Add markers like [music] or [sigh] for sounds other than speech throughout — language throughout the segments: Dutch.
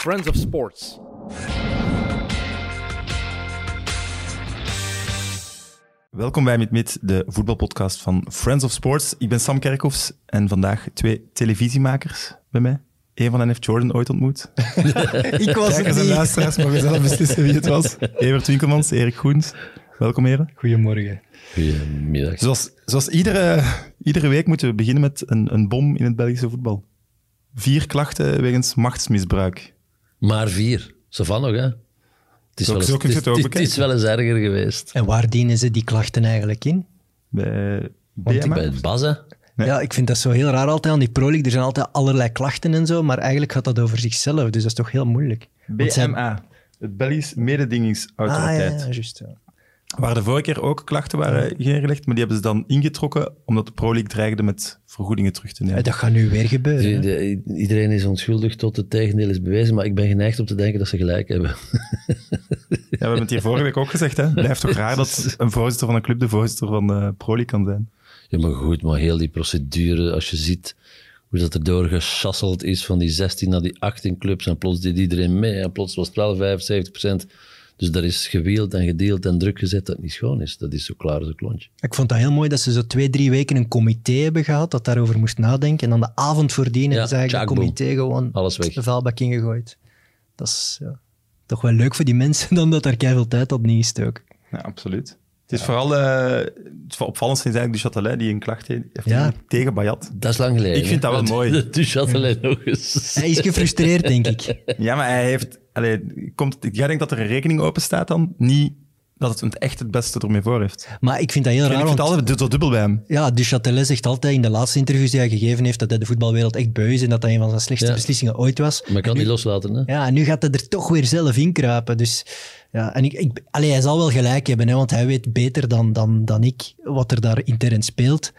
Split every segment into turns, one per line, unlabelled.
Friends of Sports.
Welkom bij Mit Mit, de voetbalpodcast van Friends of Sports. Ik ben Sam Kerkhoffs en vandaag twee televisiemakers bij mij. Eén van hen heeft Jordan ooit ontmoet.
[laughs] Ik was het
Kijkers en
niet.
luisteraars mogen zelf beslissen wie het was. Evert Winkelmans, Erik Goens. Welkom heren.
Goedemorgen.
Goedemiddag.
Zoals, zoals iedere, iedere week moeten we beginnen met een, een bom in het Belgische voetbal. Vier klachten wegens machtsmisbruik.
Maar vier. Ze van nog, hè? Het is,
Zo-
wel eens,
zo kun je
het is-
het ook bekijken.
het is- het is wel eens erger geweest.
En waar dienen ze die klachten eigenlijk in?
Bij
Ik
BMA?
bij het Bas, hè?
Nee.
Ja, ik vind dat zo heel raar altijd aan die Pro League. Er zijn altijd allerlei klachten en zo, maar eigenlijk gaat dat over zichzelf. Dus dat is toch heel moeilijk. Want zij-
BMA, het Belgisch
Ah, ja,
Mededingingsautoriteit.
ja, juist. ja.
Waar de vorige keer ook klachten waren ingelegd, maar die hebben ze dan ingetrokken omdat de Pro League dreigde met vergoedingen terug te
Eh,
nemen.
Dat gaat nu weer gebeuren. hè.
De- Iedereen is onschuldig tot het tegendeel is bewezen, maar ik ben geneigd om te denken dat ze gelijk hebben. [laughs]
Ja, we hebben het hier vorige week ook gezegd. Hè? Blijft toch raar dat een voorzitter van een club de voorzitter van de Pro League kan zijn.
Ja, maar goed, maar heel die procedure, als je ziet hoe dat er doorgeschasseld is van die 16 naar die 18 clubs en plots deed iedereen mee en plots was het wel 75 Dus daar is gewield en gedeeld en druk gezet dat het niet schoon is. Dat is zo klaar als een klontje.
Ik vond dat heel mooi dat ze zo twee, drie weken een comité hebben gehad dat daarover moest nadenken. En dan de avond voordien hebben ze eigenlijk het
tjakboom.
comité gewoon
Alles weg.
de vuilbak ingegooid. Dat is ja, toch wel leuk voor die mensen, [laughs] dan dat daar keihard tijd op niet is ook.
Ja, absoluut. Het is vooral eh, het opvallendste is eigenlijk de Châtelet die een klacht heeft
Ja.
ingediend tegen Bayat.
[laughs] Dat is lang geleden.
Ik vind dat wel mooi.
Dus had alleen nog eens.
Hij is gefrustreerd, denk ik.
[laughs]
Ja, maar hij heeft. Allee, komt, jij denkt dat er een rekening open staat dan? Niet dat het echt het beste ermee voor heeft. En
Maar ik vind dat heel
ik
raar.
vind
want-
het altijd zo dubbel bij hem.
Ja, Duchatelet zegt altijd in de laatste interviews die hij gegeven heeft dat hij de voetbalwereld echt beu is en dat dat een van zijn slechtste
Ja.
beslissingen ooit was.
Maar ik kan
En
die
nu,
loslaten, hè?
ja, en nu gaat hij er toch weer zelf in kruipen. Dus, ja, en ik, ik, allee, hij zal wel gelijk hebben, hè, want hij weet beter dan, dan, dan ik wat er daar intern speelt.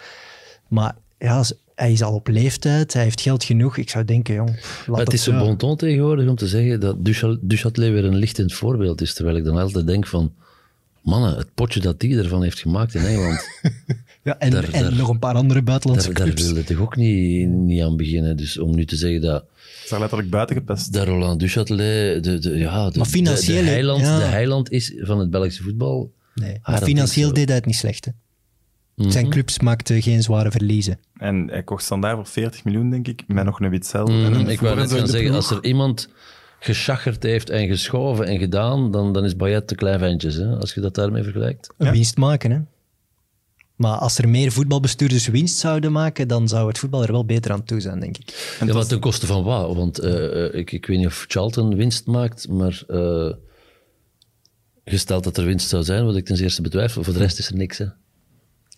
Maar ja, z- hij is al op leeftijd, hij heeft geld genoeg. Ik zou denken, jong, pff, laat
Maar het
dat
is zo
zo.
bon ton tegenwoordig om te zeggen dat Duchal- Duchatelet weer een lichtend voorbeeld is. Terwijl ik dan altijd denk van... Mannen, het potje dat die ervan heeft gemaakt in
[laughs]
Engeland,
Ja, en
daar-
en
daar-
nog een paar andere buitenlandse
daar, daar
clubs.
wil je toch ook niet, niet aan beginnen. Dus om nu te zeggen dat,
Hij is daar letterlijk buiten gepest.
dat Roland Duchatelet de, de, ja, de,
Maar
de, de,
financieel,
heiland,
ja.
de heiland is van het Belgische voetbal...
Nee,
Ah,
maar
dat
financieel
vind ik
deed hij het niet slecht. Hè. Zijn
Mhm.
clubs maakten geen zware verliezen.
En hij kocht standaard voor 40 miljoen, denk ik, met nog een Witzel.
Mm,
en een
ik
Voer
wou
en
net
zo in de
gaan zeggen,
ploeg.
als er iemand geschaggerd heeft en geschoven en gedaan, dan, dan is Bayet te klein ventjes, hè, als je dat daarmee vergelijkt.
Een
Ja.
winst maken, hè. Maar als er meer voetbalbestuurders winst zouden maken, dan zou het voetbal er wel beter aan toe zijn, denk ik.
ja, maar ten koste van wat? Want eh, eh, ik, ik weet niet of Charlton winst maakt, maar eh, gesteld dat er winst zou zijn, wat ik ten eerste betwijfel, voor de rest is er niks. Hè.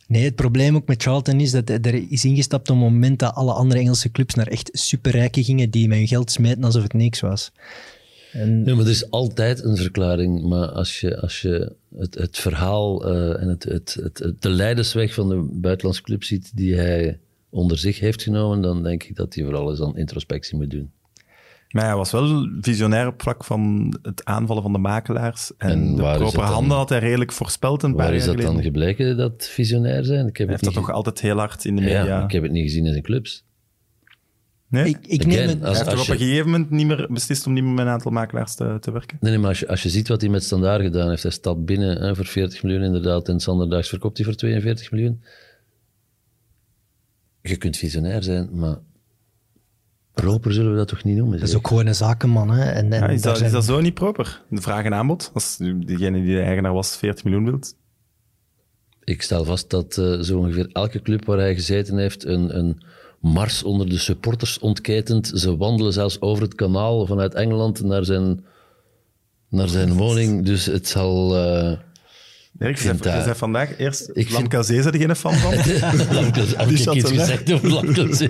Nee, het probleem ook met Charlton is dat er is ingestapt op het moment dat alle andere Engelse clubs naar echt superrijken gingen die met hun geld smeten alsof het niks was. En
Nee, maar er is altijd een verklaring, maar als je, als je het, het verhaal eh, en het, het, het, het- de leidersweg van de buitenlandse club ziet die hij onder zich heeft genomen, dan denk ik dat hij vooral eens aan introspectie moet doen.
Maar hij was wel visionair op vlak van het aanvallen van de makelaars. En,
En
de
waar is
proper
dat dan?
handen had hij redelijk voorspeld een
Waar
paar
is
jaar
dat
geleden.
dan gebleken, dat visionair zijn? Ik
Hij
heb het
heeft dat
niet
toch
ge-
altijd heel hard in de
ja,
media.
ik heb het niet gezien in zijn clubs.
Nee?
ik, ik
Again,
neem het...
hij
als-
heeft toch
als
op
je-
een gegeven moment niet meer beslist om niet meer met een aantal makelaars te, te werken.
Nee, nee, maar als je, als je ziet wat hij met Standaard gedaan heeft, hij stapt binnen hè, voor 40 miljoen inderdaad en Sanderdags verkoopt hij voor 42 miljoen. Je kunt visionair zijn, maar proper zullen we dat toch niet noemen?
Dat is
zeg?
ook gewoon een zakenman, hè. En,
Ja,
en daar
is, dat,
zijn-
is dat zo niet proper? De vraag en aanbod. Als degene die de eigenaar was 40 miljoen wilt.
Ik stel vast dat eh, zo ongeveer elke club waar hij gezeten heeft een, een mars onder de supporters ontketent. Ze wandelen zelfs over het kanaal vanuit Engeland naar zijn, naar
Oh,
zijn woning. Dus het
[laughs]
zal... eh, [laughs]
Dirk, je
vind
zei- je
dat-
zei vandaag eerst,
vind-
Lamkazé zijn er geen fan
[laughs]
van.
Lamkels- Heb ik
Chateau,
iets
hè?
gezegd over Lamkels?
[laughs]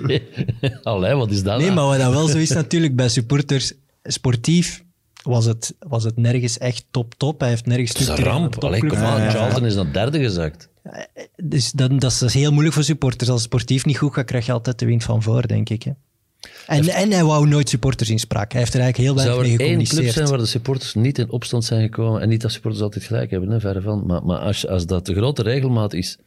Allee, wat is dat?
Nee,
nou?
maar wat dat wel zo is natuurlijk bij supporters, sportief was het, was het nergens echt top-top. Hij heeft nergens...
Het is een
structureel een
ramp. Allee,
topclub
kom
van-
aan, Charlton is naar derde gezakt.
Dus dan, dat, is, dat is heel moeilijk voor supporters. Als het sportief niet goed gaat, krijg je altijd de wind van voor, denk ik. Hè. En, en hij wou nooit supporters in spraak. Hij heeft er eigenlijk heel
Zou
weinig
er
mee
één club
gecommuniceerd.
zijn waar de supporters niet in opstand zijn gekomen en niet dat supporters altijd gelijk hebben, hè, verre van. Maar, maar als, als dat de grote regelmaat is,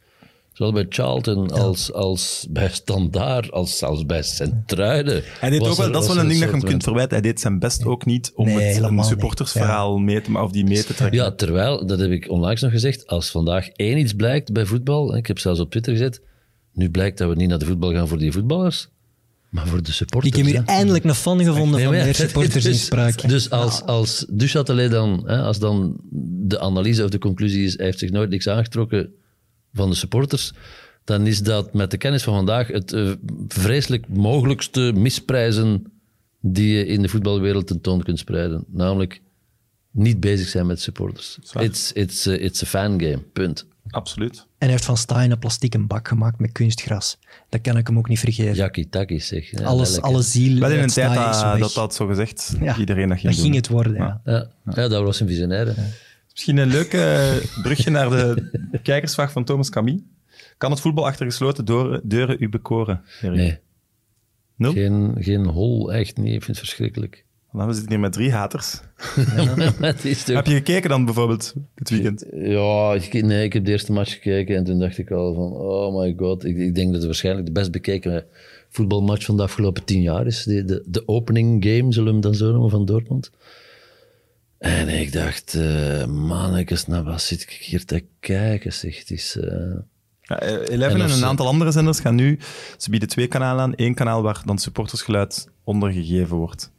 Zowel bij Charlton als, als bij Standaard, als zelfs bij Sint-Truiden.
Hij deed
was
ook wel,
er-
dat is wel
was er
een ding dat je hem
soort
kunt verwijten. Hij deed zijn best ook niet om
Nee,
het
helemaal
een
niet.
supportersverhaal mee te, ma- of die mee te trekken.
Ja, terwijl, dat heb ik onlangs nog gezegd, als vandaag één iets blijkt bij voetbal, hè, ik heb zelfs op Twitter gezet, nu blijkt dat we niet naar de voetbal gaan voor die voetballers, maar voor de supporters.
Ik heb hier
hè.
eindelijk een fan gevonden
Nee,
van
maar
meer
[laughs] ja,
supportersinspraak.
Dus, dus als, als Duchatelet dan, hè, als dan de analyse of de conclusie is, hij heeft zich nooit niks aangetrokken van de supporters, dan is dat met de kennis van vandaag het eh, vreselijk mogelijkste misprijzen die je in de voetbalwereld tentoon kunt spreiden. Namelijk niet bezig zijn met supporters.
Zwaar.
It's, it's, a, it's a fan game, punt.
Absoluut.
En hij heeft van Stein een plastieke bak gemaakt met kunstgras. Dat kan ik hem ook niet vergeven.
Jackie Taki zeg. Ja,
alles,
lelijk, hè.
alle ziel
Wel in een
uit
tijd
Stein is
dat
weg.
dat, dat zo gezegd
Ja,
iedereen dat ging
dat ging
doen.
het worden, ja.
Ja, ja, dat was een visionair. hè.
Misschien een leuke eh, brugje naar de
[laughs]
kijkersvraag van Thomas Camille. Kan het voetbal achter gesloten door- deuren u bekoren? Erik?
Nee,
Nul?
geen, geen hol, echt niet. Ik vind het verschrikkelijk.
Nou, we zitten hier met drie haters.
[laughs] Het is toch-
Heb je gekeken dan bijvoorbeeld dit weekend?
Ja, ik, nee, ik heb de eerste match gekeken en toen dacht ik al van, oh my god, ik, ik denk dat het waarschijnlijk de best bekeken voetbalmatch van de afgelopen tien jaar is. De, de, de opening game, zullen we hem dan zo noemen, van Dortmund. En ik dacht, eh mannetjes, nou wat zit ik hier te kijken, zeg. Het is, eh,
Ja, eh,
En
Eleven en
als
een
ze-
aantal andere zenders gaan nu... Ze bieden twee kanalen aan. Eén kanaal waar dan supportersgeluid ondergegeven wordt.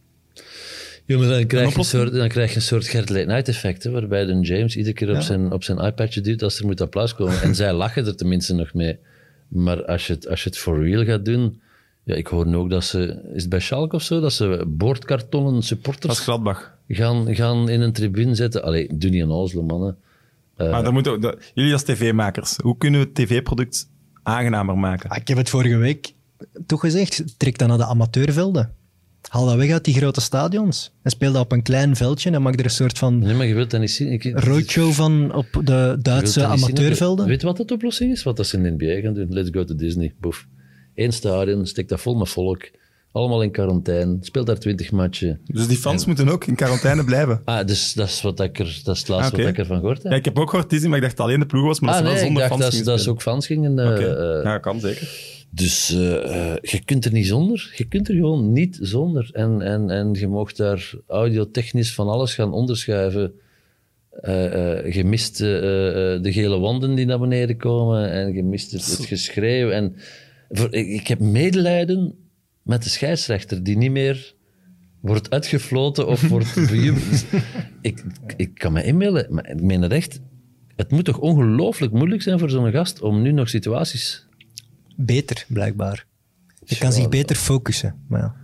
Ja, maar dan krijg, je een
oplossing?
soort, dan krijg je een soort Gert Late Night effect, hè, waarbij dan James iedere keer op, zijn, op zijn iPadje duwt als er moet applaus komen. En zij lachen er tenminste nog mee. Maar als je het, als je het for real gaat doen... Ja, ik hoor nu ook dat ze... Is het bij Schalke of zo? Dat ze boordkartonnen
Dat
supporters
is Gladbach.
gaan, gaan in een tribune zetten. Allee, doe niet aan Oslo, mannen.
Eh.
maar dan moeten we- dat- jullie als tv-makers, hoe kunnen we het tv-product aangenamer maken?
Ah, Ik heb het vorige week toch gezegd. Trek dan naar de amateurvelden. Haal dat weg uit die grote stadions. En speel dat op een klein veldje en maak er een soort van
Nee, maar je wilt dat niet zien. Ik,
roadshow van op de
je wilt dat niet zien.
Duitse amateurvelden.
Weet je wat de oplossing is? Wat dat ze in de NBA gaan doen? Let's go to Disney. Boef. Eén stadion, stek dat vol met volk. Allemaal in quarantaine. Speel daar twintig matchen.
Dus die fans moeten ook in quarantaine blijven.
Ah, dus dat is, wat ik er, dat is het laatste
Oké.
wat ik ervan gehoord heb.
Ja, ik heb ook gehoord Disney, maar ik dacht dat alleen de ploeg was, maar
ah,
dat ze
nee,
wel
ik
zonder
dacht
fans
dat, ze-
gingen
dat ze
spelen.
ook fans gingen. eh,
Oké.
eh,
Ja, kan zeker.
Dus eh, eh, je kunt er niet zonder. Je kunt er gewoon niet zonder. En, en, en je mag daar audiotechnisch van alles gaan onderschuiven. Eh, eh, je mist eh, eh, eh, de gele wanden die naar beneden komen. En je mist het, het geschreeuw. En voor- ik, ik heb medelijden met de scheidsrechter die niet meer wordt uitgefloten of wordt bejubeld. Dus ik, ik kan me inbeelden, maar ik meen het echt. Het moet toch ongelooflijk moeilijk zijn voor zo'n gast om nu nog situaties
Beter, blijkbaar. Je kan
Ja,
zich
dat-
beter focussen. Maar ja.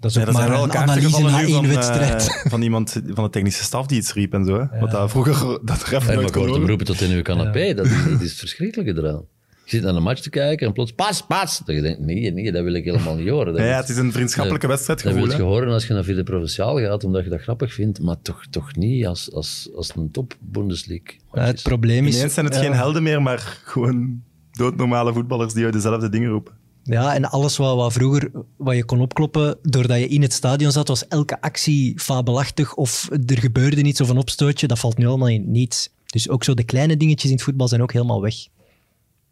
Dat is
Ja,
ook
dat zijn
maar
wel
een
kaarten
analyse
gevallen
na
nu
één
van, eh,
wedstrijd.
[laughs] van iemand van de technische staf die iets riep en zo. Hè? Want dat vroeger dat ref nooit
En maar
kon
wordt hem
horen.
roepen tot in uw canapé. Dat, is, dat is het verschrikkelijke eraan. Je zit naar een match te kijken en plots pas, pas. Dat je denkt, nee, nee, dat wil ik helemaal niet horen. Dat
Ja, ja,
wil-
het is een vriendschappelijke
dat-
wedstrijd
Dat wil
gevoel.
je
hè.
horen als je naar Ville Provinciaal gaat, omdat je dat grappig vindt. Maar toch, toch niet als, als, als een top Bundesliga.
Ja, [laughs] het probleem is...
eh, Ineens zijn het
ja.
geen helden meer, maar gewoon doodnormale voetballers die uit dezelfde dingen roepen.
Ja, en alles wat, wat vroeger wat je kon opkloppen, doordat je in het stadion zat, was elke actie fabelachtig of er gebeurde iets of een opstootje. Dat valt nu allemaal in het niets. Dus ook zo de kleine dingetjes in het voetbal zijn ook helemaal weg.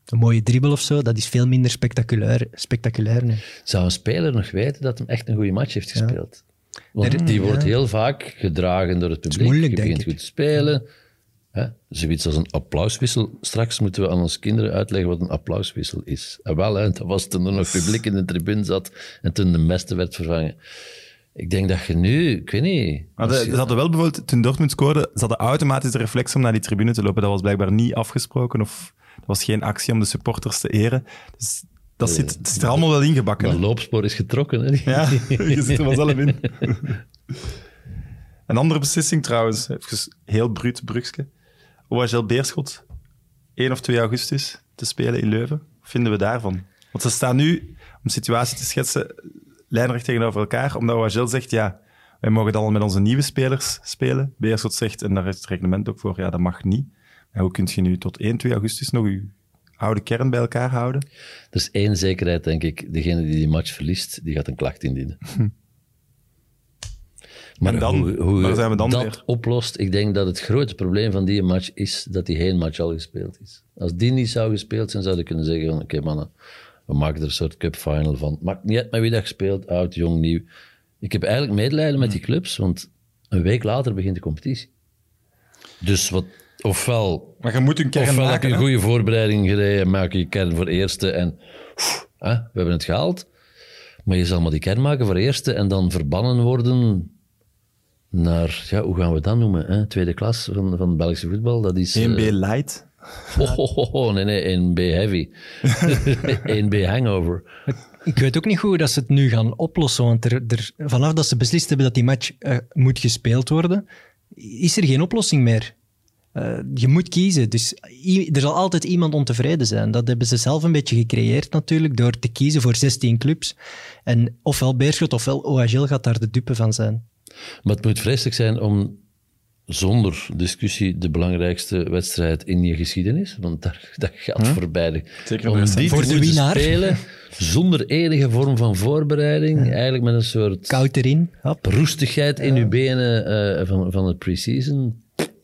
Een mooie dribbel of zo, dat is veel minder spectaculair, spectaculair nu.
Zou een speler nog weten dat hem echt een goede match heeft gespeeld? Want
Er-
die
ja.
wordt heel vaak gedragen door het publiek.
moeilijk,
je
denk
begint
ik.
goed te spelen. Hè? Zoiets als een applauswissel. Straks moeten we aan onze kinderen uitleggen wat een applauswissel is. En wel, hè, dat was toen er nog publiek in de tribune zat en toen de mesten werd vervangen. Ik denk dat je nu, ik weet niet...
Maar de-
als je-
ze hadden wel bijvoorbeeld, toen Dortmund scoorde, ze hadden automatisch de reflex om naar die tribune te lopen. Dat was blijkbaar niet afgesproken of dat was geen actie om de supporters te eren. Dus dat zit, het zit er allemaal wel ingebakken.
dat
hè.
loopspoor is getrokken. Hè?
Ja, [laughs] je zit er wel zelf in. Een andere beslissing trouwens, even heel bruut brugske. OHL Beerschot, 1 of 2 augustus te spelen in Leuven. Wat vinden we daarvan? Want ze staan nu, om de situatie te schetsen, lijnrecht tegenover elkaar. Omdat OHL zegt, ja, wij mogen dan al met onze nieuwe spelers spelen. Beerschot zegt, en daar is het reglement ook voor, ja, dat mag niet. En hoe kun je nu tot 1, 2 augustus nog je oude kern bij elkaar houden?
Er is Dus één zekerheid, denk ik. Degene die die match verliest, die gaat een klacht indienen. Maar
En dan?
hoe, hoe
Waar zijn we dan
dat
weer?
oplost, ik denk dat het grote probleem van die match is dat die geen match al gespeeld is. Als die niet zou gespeeld zijn, zouden we kunnen zeggen van, oké mannen, we maken er een soort cup final van. Maakt niet uit met wie dat speelt, oud, jong, nieuw. Ik heb eigenlijk medelijden met die clubs, want een week later begint de competitie. Dus wat, ofwel
Maar je moet een kern
Ofwel heb
maken.
je een
hè?
goede voorbereiding gereden, maak je kern voor eerste en pff, hè, we hebben het gehaald. Maar je zal maar die kern maken voor eerste en dan verbannen worden naar, ja, hoe gaan we dat noemen? Hè? Tweede klas van, van Belgische voetbal. Dat is. eh,
1B light.
[laughs] oh, oh, oh, oh, nee, nee, 1B heavy. [laughs] 1B hangover.
Ik weet ook niet goed hoe dat ze het nu gaan oplossen. Want er, er, vanaf dat ze beslist hebben dat die match eh, moet gespeeld worden, is er geen oplossing meer. Eh, je moet kiezen. Dus i- er zal altijd iemand ontevreden zijn. Dat hebben ze zelf een beetje gecreëerd natuurlijk, door te kiezen voor 16 clubs. En ofwel Beerschot ofwel OHL gaat daar de dupe van zijn.
Maar het moet vreselijk zijn om zonder discussie de belangrijkste wedstrijd in je geschiedenis, want daar, dat gaat voorbij. de-
Zeker
om
bij
die
Hm? Voor
te
de
moeten
winnaar. [laughs]
spelen zonder enige vorm van voorbereiding, eigenlijk met een soort
Koud erin, hop.
roestigheid in je benen eh, van, van het pre-season.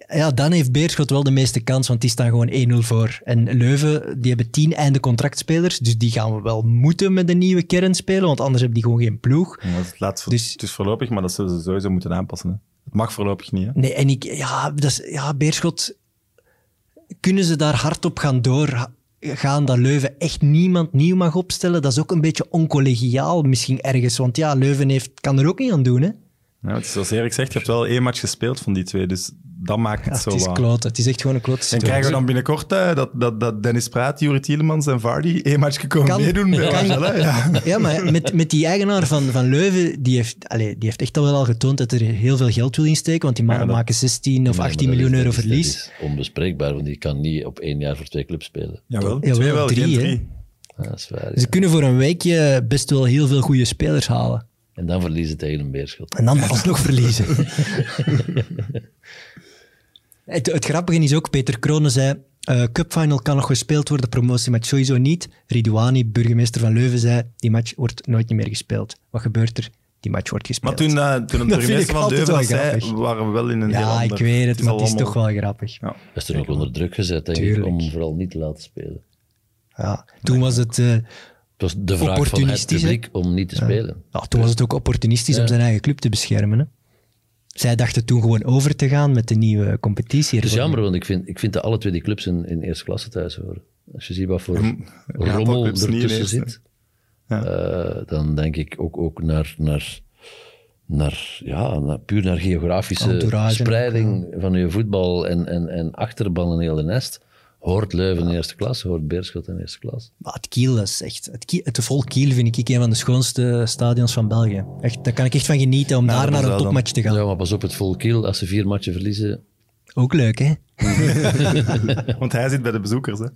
Ja, dan heeft Beerschot wel de meeste kans, want die staan gewoon 1-0 voor. En Leuven, die hebben 10 einde contractspelers, dus die gaan we wel moeten met een nieuwe kern spelen, want anders hebben die gewoon geen ploeg.
Maar Het, laat,
Dus-
het is voorlopig, maar dat zullen ze sowieso moeten aanpassen. Hè. Het mag voorlopig niet. Hè.
Nee, en ik, ja, dat is, ja, Beerschot, kunnen ze daar hard op gaan doorgaan dat Leuven echt niemand nieuw mag opstellen? Dat is ook een beetje oncollegiaal misschien ergens, want ja, Leuven heeft, kan er ook niet aan doen, hè?
Ja, het is zoals Erik zegt, je hebt wel één match gespeeld van die twee, dus dat maakt het
Ja,
zo
het is
wat.
klote, het is echt gewoon een klote
En
situatie.
krijgen we dan binnenkort eh, dat, dat, dat Dennis Praat, Juri Tielemans en Vardy één match komen meedoen bij
kan-
Angela, ja.
Ja, maar met, met die eigenaar van, van Leuven, die heeft, allee, die heeft echt al wel al getoond dat er heel veel geld wil insteken, want die mannen
dat-
maken 16 of 18
Nee, maar dat
miljoen
is-
euro
dat is- dat
verlies.
is onbespreekbaar, want die kan niet op één jaar voor twee clubs spelen.
Jawel,
Jawel,
twee wel,
drie,
geen
hè.
drie.
Ja, dat is waar. ja.
Ze kunnen voor een weekje best wel heel veel goede spelers halen.
En dan verliezen tegen een beerschot.
En dan alsnog verliezen. [laughs] het, het grappige is ook, Peter Kroonen zei... eh cupfinal kan nog gespeeld worden, promotiematch sowieso niet. Ridouani, burgemeester van Leuven, zei... Die match wordt nooit niet meer gespeeld. Wat gebeurt er? Die match wordt
Maar
gespeeld.
toen, eh, toen het
ik
burgemeester van
altijd
Leuven dat
wel
zei,
grappig.
waren we wel in een heel
ja, ik
ander-
weet het, maar het is
al
toch wel grappig.
allemaal- Ja.
Dat is toen ook onder druk gezet, denk ik,
Tuurlijk.
om vooral niet te laten spelen.
Ja, toen was het... eh,
Het was de vraag van het
Opportunistisch, hè?
publiek om niet te spelen.
Ja, toen was het ook opportunistisch om zijn eigen club te beschermen. Hè? Zij dachten toen gewoon over te gaan met de nieuwe competitie.
Het is jammer, want ik vind, ik vind dat alle twee die clubs in, in eerste klasse thuis horen. Als je ziet wat voor
ja,
rommel
voor clubs niet in
ertussen
eerste.
zit, eh, dan denk ik ook, ook naar, naar, naar, ja, naar, puur naar geografische
Entourage.
spreiding van je voetbal en, en, en achterban een hele nest. Hoort Leuven in eerste klasse, hoort Beerschot in eerste klasse.
Maar het Kiel is echt... Het, Kiel, het vol Kiel vind ik een van de schoonste stadions van België. Echt, daar kan ik echt van genieten om daar
dat
naar
is
een
wel dan-
topmatch te gaan.
Ja, maar pas op, het vol kiel, als ze vier matchen verliezen.
Ook leuk, hè?
Want hij zit bij de bezoekers. Hè.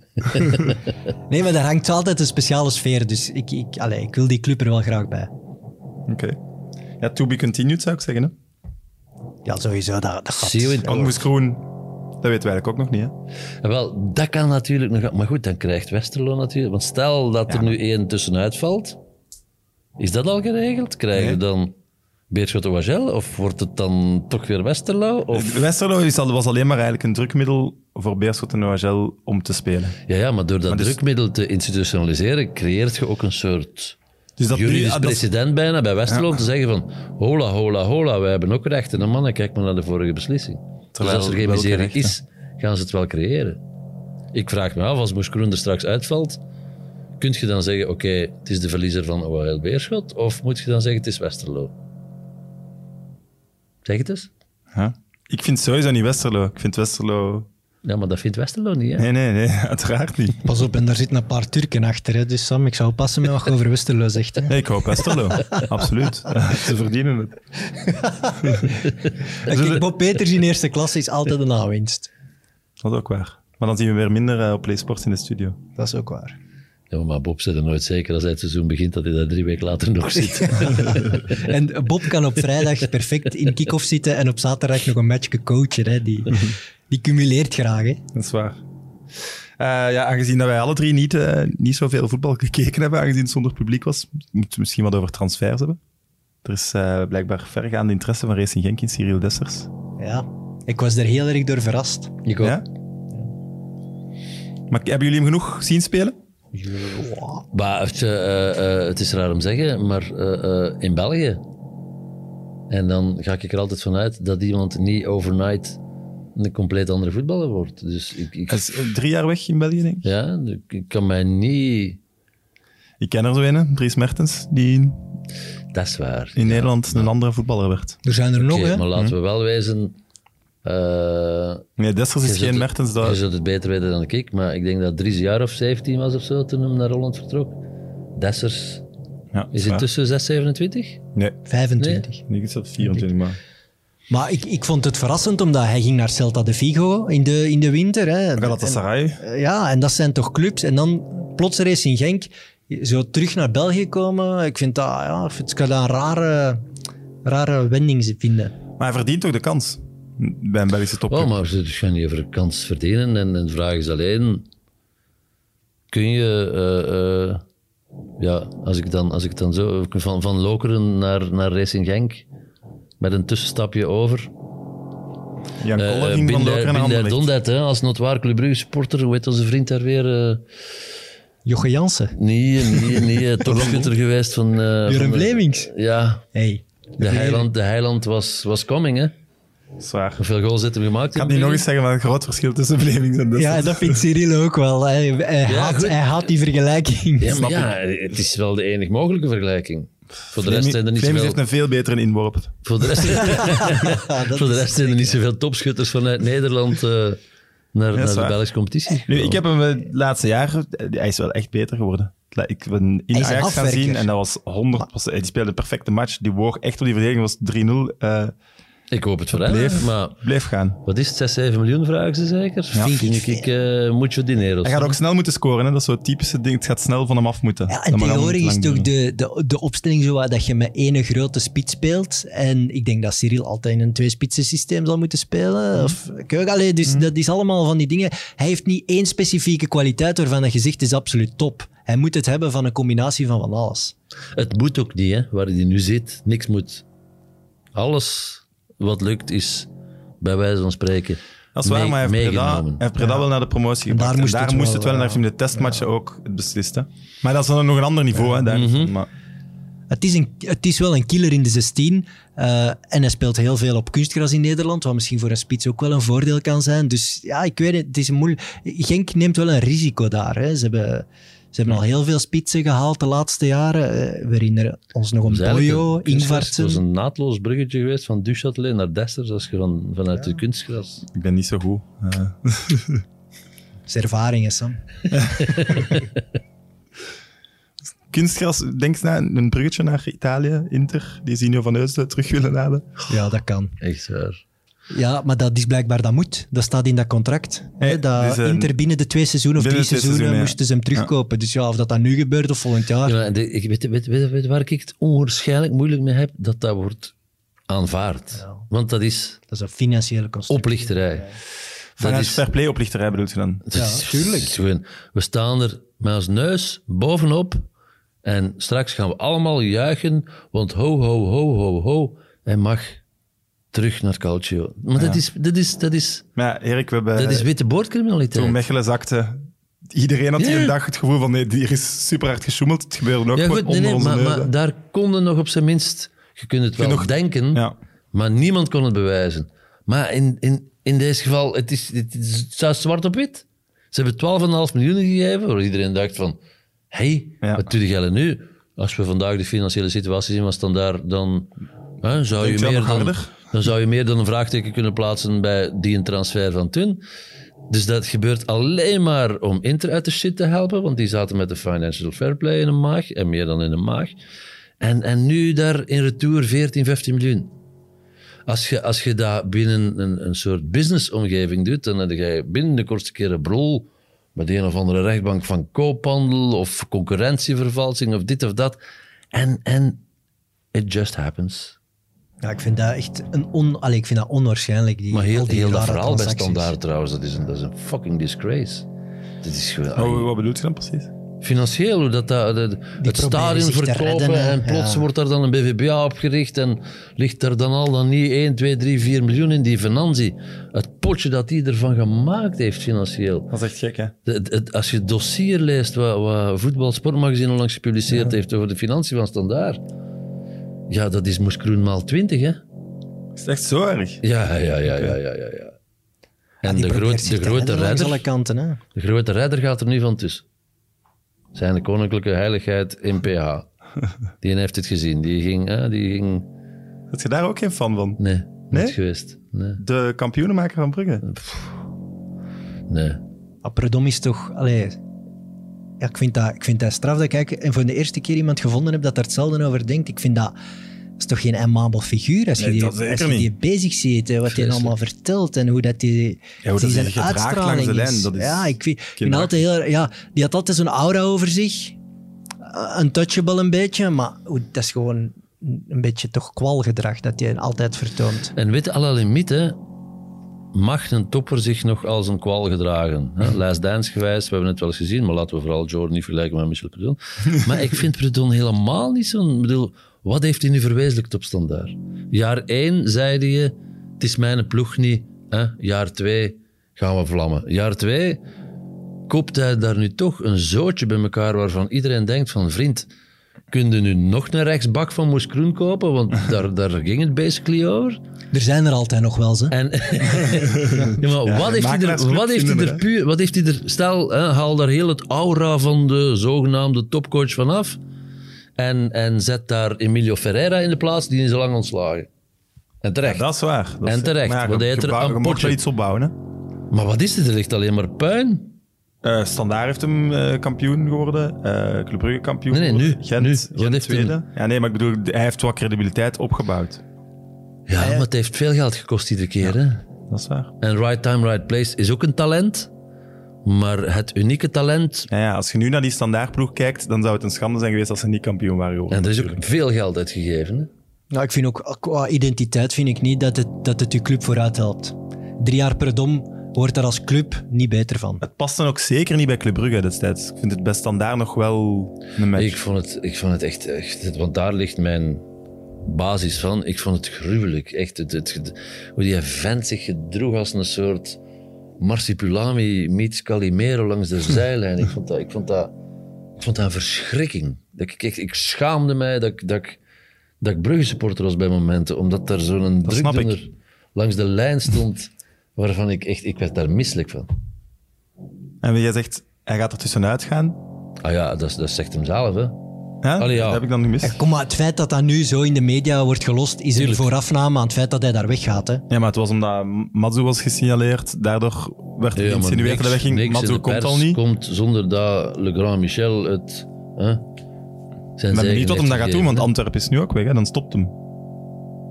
Nee, maar daar hangt altijd een speciale sfeer. Dus ik, ik, allee, ik wil die club er wel graag bij.
Oké. Ja, to be continued zou ik zeggen. Hè.
Ja, sowieso. Dat, dat gaat.
See you in
Want Moes Groen, dat weten we eigenlijk ook nog niet. Hè.
Ja, Wel, dat kan natuurlijk nog. Maar goed, dan krijgt Westerlo natuurlijk. Want stel dat er nu één tussenuit valt. Is dat al geregeld? Krijgen we dan Beerschot Oagel? Of wordt het dan toch weer Westerlo? Of...
Westerlo is al- was alleen maar eigenlijk een drukmiddel voor Beerschot en OHL om te spelen.
Ja, ja, maar door dat
dus-
drukmiddel te institutionaliseren, creëert je ook een soort
Dus dat
juridisch
ah, dat is-
precedent bijna bij Westerlo om te zeggen van hola, hola, hola, wij hebben ook rechten. En mannen, kijk maar naar de vorige beslissing.
Terwijl
dus als er geen
welke
miserie
rechten?
is, gaan ze het wel creëren. Ik vraag me af, als Moes Kroen er straks uitvalt, kun je dan zeggen, oké, het is de verliezer van OHL Beerschot, of moet je dan zeggen, het is Westerlo? Zeg het eens.
Ja. Ik vind sowieso niet Westerlo. Ik vind Westerlo...
Ja, maar dat vindt Westerlo niet, hè?
Nee, nee, nee, [laughs] uiteraard niet.
Pas op, en daar zitten een paar Turken achter. Hè? Dus Sam, ik zou passen met wat je over Westerlo zegt. [laughs] Hè?
Nee, ik hoop [laughs] Westerlo. Absoluut. Ze verdienen het.
Kijk, Bob Peters in eerste klasse is altijd een aanwinst.
Dat is ook waar. Maar dan zien we weer minder eh, op PlaySports in de studio.
Dat is ook waar.
Ja, maar Bob zit er nooit zeker als hij het seizoen begint dat hij daar drie weken later nog zit.
[laughs]
En Bob kan op vrijdag perfect in kick-off zitten en op zaterdag nog een matchje coachen. Hè. Die, die cumuleert graag. Hè.
Dat is waar. Eh, ja, aangezien dat wij alle drie niet, eh, niet zoveel voetbal gekeken hebben, aangezien het zonder publiek was, moeten we misschien wat over transfers hebben. Er is eh, blijkbaar vergaande interesse van Racing Genk in Cyril Dessers.
Ja. Ik was daar heel erg door verrast.
Ik ook.
Ja? Maar hebben jullie hem genoeg zien spelen?
Maar het, eh, eh, het is raar om te zeggen, maar eh, eh, in België. En dan ga ik er altijd vanuit dat iemand niet overnight een compleet andere voetballer wordt. Dus ik, ik,
Hij is eh, drie jaar weg in België, denk ik.
ja, ik- ik kan mij niet.
Ik ken er zo een, hè, Dries Mertens, die in,
Dat is waar.
in Nederland een andere voetballer werd.
Er zijn er nog,
Oké,
hè?
maar
Hm.
laten we wel wezen. eh,
Nee, Dessers
Je
is geen
zult het-
Mertens.
Je
Dat...
zult het beter weten dan ik, maar ik denk dat Dries een jaar of 17 was of zo toen hem naar Holland vertrok. Dessers
Ja,
is
waar.
intussen 6, 27.
Nee,
25.
ik is dat 24, maar...
Maar ik, ik vond het verrassend, omdat hij ging naar Celta de Vigo in de, in de winter. Hè.
Galatasaray.
En- eh, ja, en dat zijn toch clubs. En dan plots Racing Genk, zo terug naar België komen. Ik vind dat, ja, ik vind- ik kan dat een rare, rare wending vinden.
Maar hij verdient toch de kans bij een Belgische topclub.
Oh, maar ze gaan je over kans verdienen. En, en de vraag is alleen: kun je, eh, eh, ja, als ik dan, als ik dan zo van, van Lokeren naar, naar Racing Genk met een tussenstapje over.
Jan
Eh,
Koller ging van
Binder-
Lokeren naar
Binder
Anderlecht.
Dondet, hè, als notwaar Club Brugge supporter, hoe heet onze vriend daar weer? eh,
Joche Jansen.
Nee,
[laughs]
nee, nee. eh, Topschutter geweest van... eh
Jurgen
van de-
Vlemings.
Ja.
Hey.
De heiland, de heiland was, was coming, hè.
Zwaar. Ik
Hoeveel goals hebben we gemaakt?
ga het niet nog eens zeggen, maar een groot verschil tussen Vlemings en Dessers.
Ja, en dat vindt Cyril ook wel. Hij, hij, haat,
goed.
hij haat die vergelijking.
Ja, maar ja, het is wel de enige mogelijke vergelijking. Voor de rest zijn er niet
Vlemings
zoveel...
heeft een veel betere inworp.
Voor de rest, [laughs]
dat
voor de
is-
rest zijn er niet zoveel topschutters vanuit Nederland eh, naar, naar de
waar.
Belgische competitie.
Nu, ik heb hem het laatste jaar... eh, Hij is wel echt beter geworden. Ik ben in
Hij is een
Ajax gaan
afwerker.
zien en dat was 100%. Die speelde een perfecte match. Die woog echt op die verdediging. was 3-0. eh
Ik hoop het voor hem,
Bleef.
maar...
bleef gaan.
Wat is het? 6, 7 miljoen vragen ze zeker?
Ja.
Vind ik, ik eh mucho dinero.
Hij gaat ook snel moeten scoren. Hè? Dat is zo'n typische ding. Het gaat snel van hem af moeten.
Ja,
Dat
en
mag allemaal
tegenwoordig
niet
is
lang
toch
duren.
de, de, de opstelling zo wat dat je met ene grote spits speelt. En ik denk dat Cyril altijd in een twee-spitsen systeem zal moeten
Mhm.
spelen. Of, Kijk, allee, dus dat is allemaal van die dingen. Hij heeft niet één specifieke kwaliteit waarvan dat gezicht is absoluut top. Hij moet het hebben van een combinatie van van alles.
Het moet ook niet, hè, waar hij nu zit. Niks moet. Alles wat lukt is bij wijze van spreken.
Dat is waar,
mee-
maar hij heeft Breda, hij
meegenomen.
heeft Breda wel naar de promotie
En daar
gebracht. En
moest
daar
het
moest
wel, eh,
het wel en daar heeft hij in de testmatchen ook het beslist. Hè? Maar dat is dan nog een ander niveau. Hè, daar.
Mhm.
maar,
Het is, een, het is wel een killer in de 16. eh, en hij speelt heel veel op kunstgras in Nederland, wat misschien voor een spits ook wel een voordeel kan zijn. Dus ja, ik weet het, het is moeilijk. Genk neemt wel een risico daar. Hè. Ze, hebben, ze hebben al heel veel spitsen gehaald de laatste jaren. Eh, we herinneren ons nog om
Dus eigenlijk
Boyo,
een kunstgras. Het was
Ingvartsen.
een naadloos bruggetje geweest van Duchatelet naar Dessers, als je van, vanuit de kunstgras.
ik ben niet zo goed. Eh,
Dat is ervaringen, Sam.
kunstgras, denk eens naar een bruggetje naar Italië, Inter, die Zinio van Heusden terug willen laden.
Ja, dat kan.
Echt waar.
Ja, maar dat is blijkbaar dat moet. Dat staat in dat contract. hè,
Ja,
dat
dus, eh,
Inter binnen de twee seizoenen of drie
binnen de twee seizoenen,
seizoenen
ja.
moesten ze hem terugkopen. Dus ja, of dat dat nu gebeurt of volgend jaar.
Ja, maar de- ik weet, weet, weet, weet waar ik het onwaarschijnlijk moeilijk mee heb? Dat dat wordt aanvaard.
Ja.
Want dat is
Dat is een financiële constructie.
oplichterij. Dat
Vanuit
is,
fair play oplichterij bedoelt je dan?
dat
Ja,
is-
tuurlijk.
is gewoon- we staan er met ons neus bovenop en straks gaan we allemaal juichen, want ho, ho, ho, ho, ho, hij mag terug naar Calcio. Maar dat, is, dat, is, dat, is,
Maar ja, Erik, we hebben...
dat is witte
Eh, Toen
boordcriminaliteit.
Mechelen zakte, iedereen had hier
Ja.
een dag het gevoel van nee, hier is super hard gesjoemeld. Het gebeurde ook
Ja,
gewoon
goed, nee,
onder
nee,
onze
maar, maar
neuzen.
daar konden nog op zijn minst, je kunt het wel
Genoeg-
denken,
Ja.
maar niemand kon het bewijzen. Maar in, in, in deze geval, het, is, het, is, het staat zwart op wit. Ze hebben 12,5 miljoen gegeven, waar iedereen dacht van, hé, hey,
Ja.
wat doe jij nu? Als we vandaag de financiële situatie zien, was dan daar, dan, hè, zou,
Denk
je
je
meer
dat nog
dan,
harder?
dan zou je meer dan een vraagteken kunnen plaatsen bij die een transfer van toen. Dus dat gebeurt alleen maar om Inter uit de shit te helpen, want die zaten met de financial fair play in hun maag, en meer dan in hun maag. En, en nu daar in retour 14, 15 miljoen. Als je, als je dat binnen een, een soort businessomgeving doet, dan heb je binnen de kortste keer een brol met een of andere rechtbank van koophandel of concurrentievervalsing of dit of dat. En, en it just happens.
Ja, ik vind dat echt een on... Allee, ik vind dat onwaarschijnlijk. Die,
Maar heel,
al die
heel dat
rare
verhaal bij
transacties.
standaard trouwens, dat is een, dat is een fucking disgrace. Dit is gewoon...
Oh, wat bedoelt je dan precies?
Financieel, hoe dat, dat de- het stadion
zich te
verkopen
redden, hè.
en plots
Ja.
wordt daar dan een BVBA opgericht en ligt er dan al dan niet 1, 2, 3, 4 miljoen in die financiën. Het potje dat die ervan gemaakt heeft financieel.
Dat is echt gek, hè?
Het- het- als je het dossier leest wat, wat Voetbal Sportmagazine onlangs gepubliceerd heeft over de financiën van Standaard. Ja, dat is Moes Kroen maal 20, hè?
Is het echt zo erg?
Ja, ja, ja, ja, ja, ja. ja. En de, groot, de, grote
Langs
redder,
alle kanten, hè.
de grote redder gaat er nu van tussen. Zijn de koninklijke heiligheid MPH. Die heeft het gezien. Die ging... eh, die ging
Dat je daar ook geen fan van?
nee,
Nee?
niet geweest. Nee,
De kampioenenmaker van Brugge.
nee.
Apperdom is toch... Allee, ja, ik, vind dat, ik vind dat straf dat ik en voor de eerste keer iemand gevonden heb dat daar hetzelfde over denkt. Ik vind dat... dat is toch geen aimabel figuur als je,
Nee,
die,
dat zeker
als je die bezig ziet, hè, wat hij
Vreselijk.
allemaal vertelt en hoe dat die,
Ja, hoe dat
die
die
zijn
zich gedraagt langs de
uitstraling is.
lijn, dat is
ja, ik vind, ik vind
kinderachtig.
altijd heel, ja, die had altijd zo'n aura over zich, Eh, een touchable een beetje, maar hoe- dat is gewoon een beetje toch kwalgedrag dat hij altijd vertoont.
En weet je, à la limiet, hè, mag een topper zich nog als een kwaal gedragen? Hè? Last Dance gewijs, we hebben het wel eens gezien, maar laten we vooral Jordan niet vergelijken met Michel Prudon. Maar ik vind Prudon helemaal niet zo'n... ik bedoel, wat heeft hij nu verwezenlijkt op standaard? Jaar 1 zeide je, het is mijn ploeg niet. Hè? Jaar 2 gaan we vlammen. Jaar 2 koopt hij daar nu toch een zootje bij elkaar waarvan iedereen denkt van vriend, kun je nu nog een rechtsbak van Moes Kroen kopen? Want daar, daar ging het basically over.
Er zijn er altijd nog wel, ze.
En, [laughs] ja, maar wat, heeft hij er,
makelaarsclub
wat heeft hij
vinden we,
er
hè?
puur... Wat heeft hij er... Stel, hè, haal daar heel het aura van de zogenaamde topcoach vanaf en, en zet daar Emilio Ferreira in de plaats, die is al lang ontslagen. En terecht.
Dat is waar. Dat
En
is-
terecht,
maar ja,
want
je
hij heeft er
bouw-
een
je moet
potje.
wel iets opbouwen, hè?
Maar wat is dit? Er ligt alleen maar puin.
Eh, Standaard heeft hem eh, kampioen geworden. eh Club Brugge kampioen
Nee, nee, nu.
geworden. Gent,
Nu.
Gent
Wat heeft
tweede. Ja, nee, maar ik bedoel, hij heeft wat credibiliteit opgebouwd.
Ja, maar het heeft veel geld gekost iedere keer. Hè?
Dat is waar.
En right time, right place is ook een talent. Maar het unieke talent...
Ja, ja, als je nu naar die standaardploeg kijkt, dan zou het een schande zijn geweest als ze niet kampioen waren geworden.
En er is ook veel geld uitgegeven. Hè?
Nou, ik vind ook qua identiteit vind ik niet dat het, dat het je club vooruit helpt. Drie jaar per dom wordt daar als club niet beter van.
Het past dan ook zeker niet bij Club Brugge destijds. Ik vind het bij standaard nog wel een match.
Ik vond het, ik vond het echt, echt, want daar ligt mijn basis van. Ik vond het gruwelijk. Echt, het, het, ged- hoe die vent zich gedroeg als een soort Marsipulami meets Calimero
[laughs]
langs de zijlijn. Ik vond dat, ik vond dat, ik vond dat een verschrikking. Dat ik, echt- ik schaamde mij dat ik, dat ik, dat ik Brugge supporter was bij momenten, omdat daar zo'n
snap ik.
drukdoener langs de lijn stond, waarvan ik echt, ik werd daar misselijk van.
En jij zegt, hij gaat er tussenuit gaan.
Ah ja, dat, is- dat zegt hem zelf, hè.
Hè?
Allee, ja.
Dat heb ik dan gemist.
Ja, kom maar, het feit dat dat nu zo in de media wordt gelost, is een
Tuurlijk.
voorafname aan het feit dat hij daar weggaat. Hè?
Ja, maar het was omdat Matsu was gesignaleerd. Daardoor werd
Ja,
het
maar
geïnsinueerd
niks-
dat hij wegging.
niks in
Matsu
de
komt
pers
al niet.
komt zonder dat Le Grand Michel het... Hè, zijn
Ik ben
zegen
benieuwd wat hem dat
heeft
gaat doen,
gegeven.
want Antwerpen is nu ook weg. Hè? Dan stopt hem.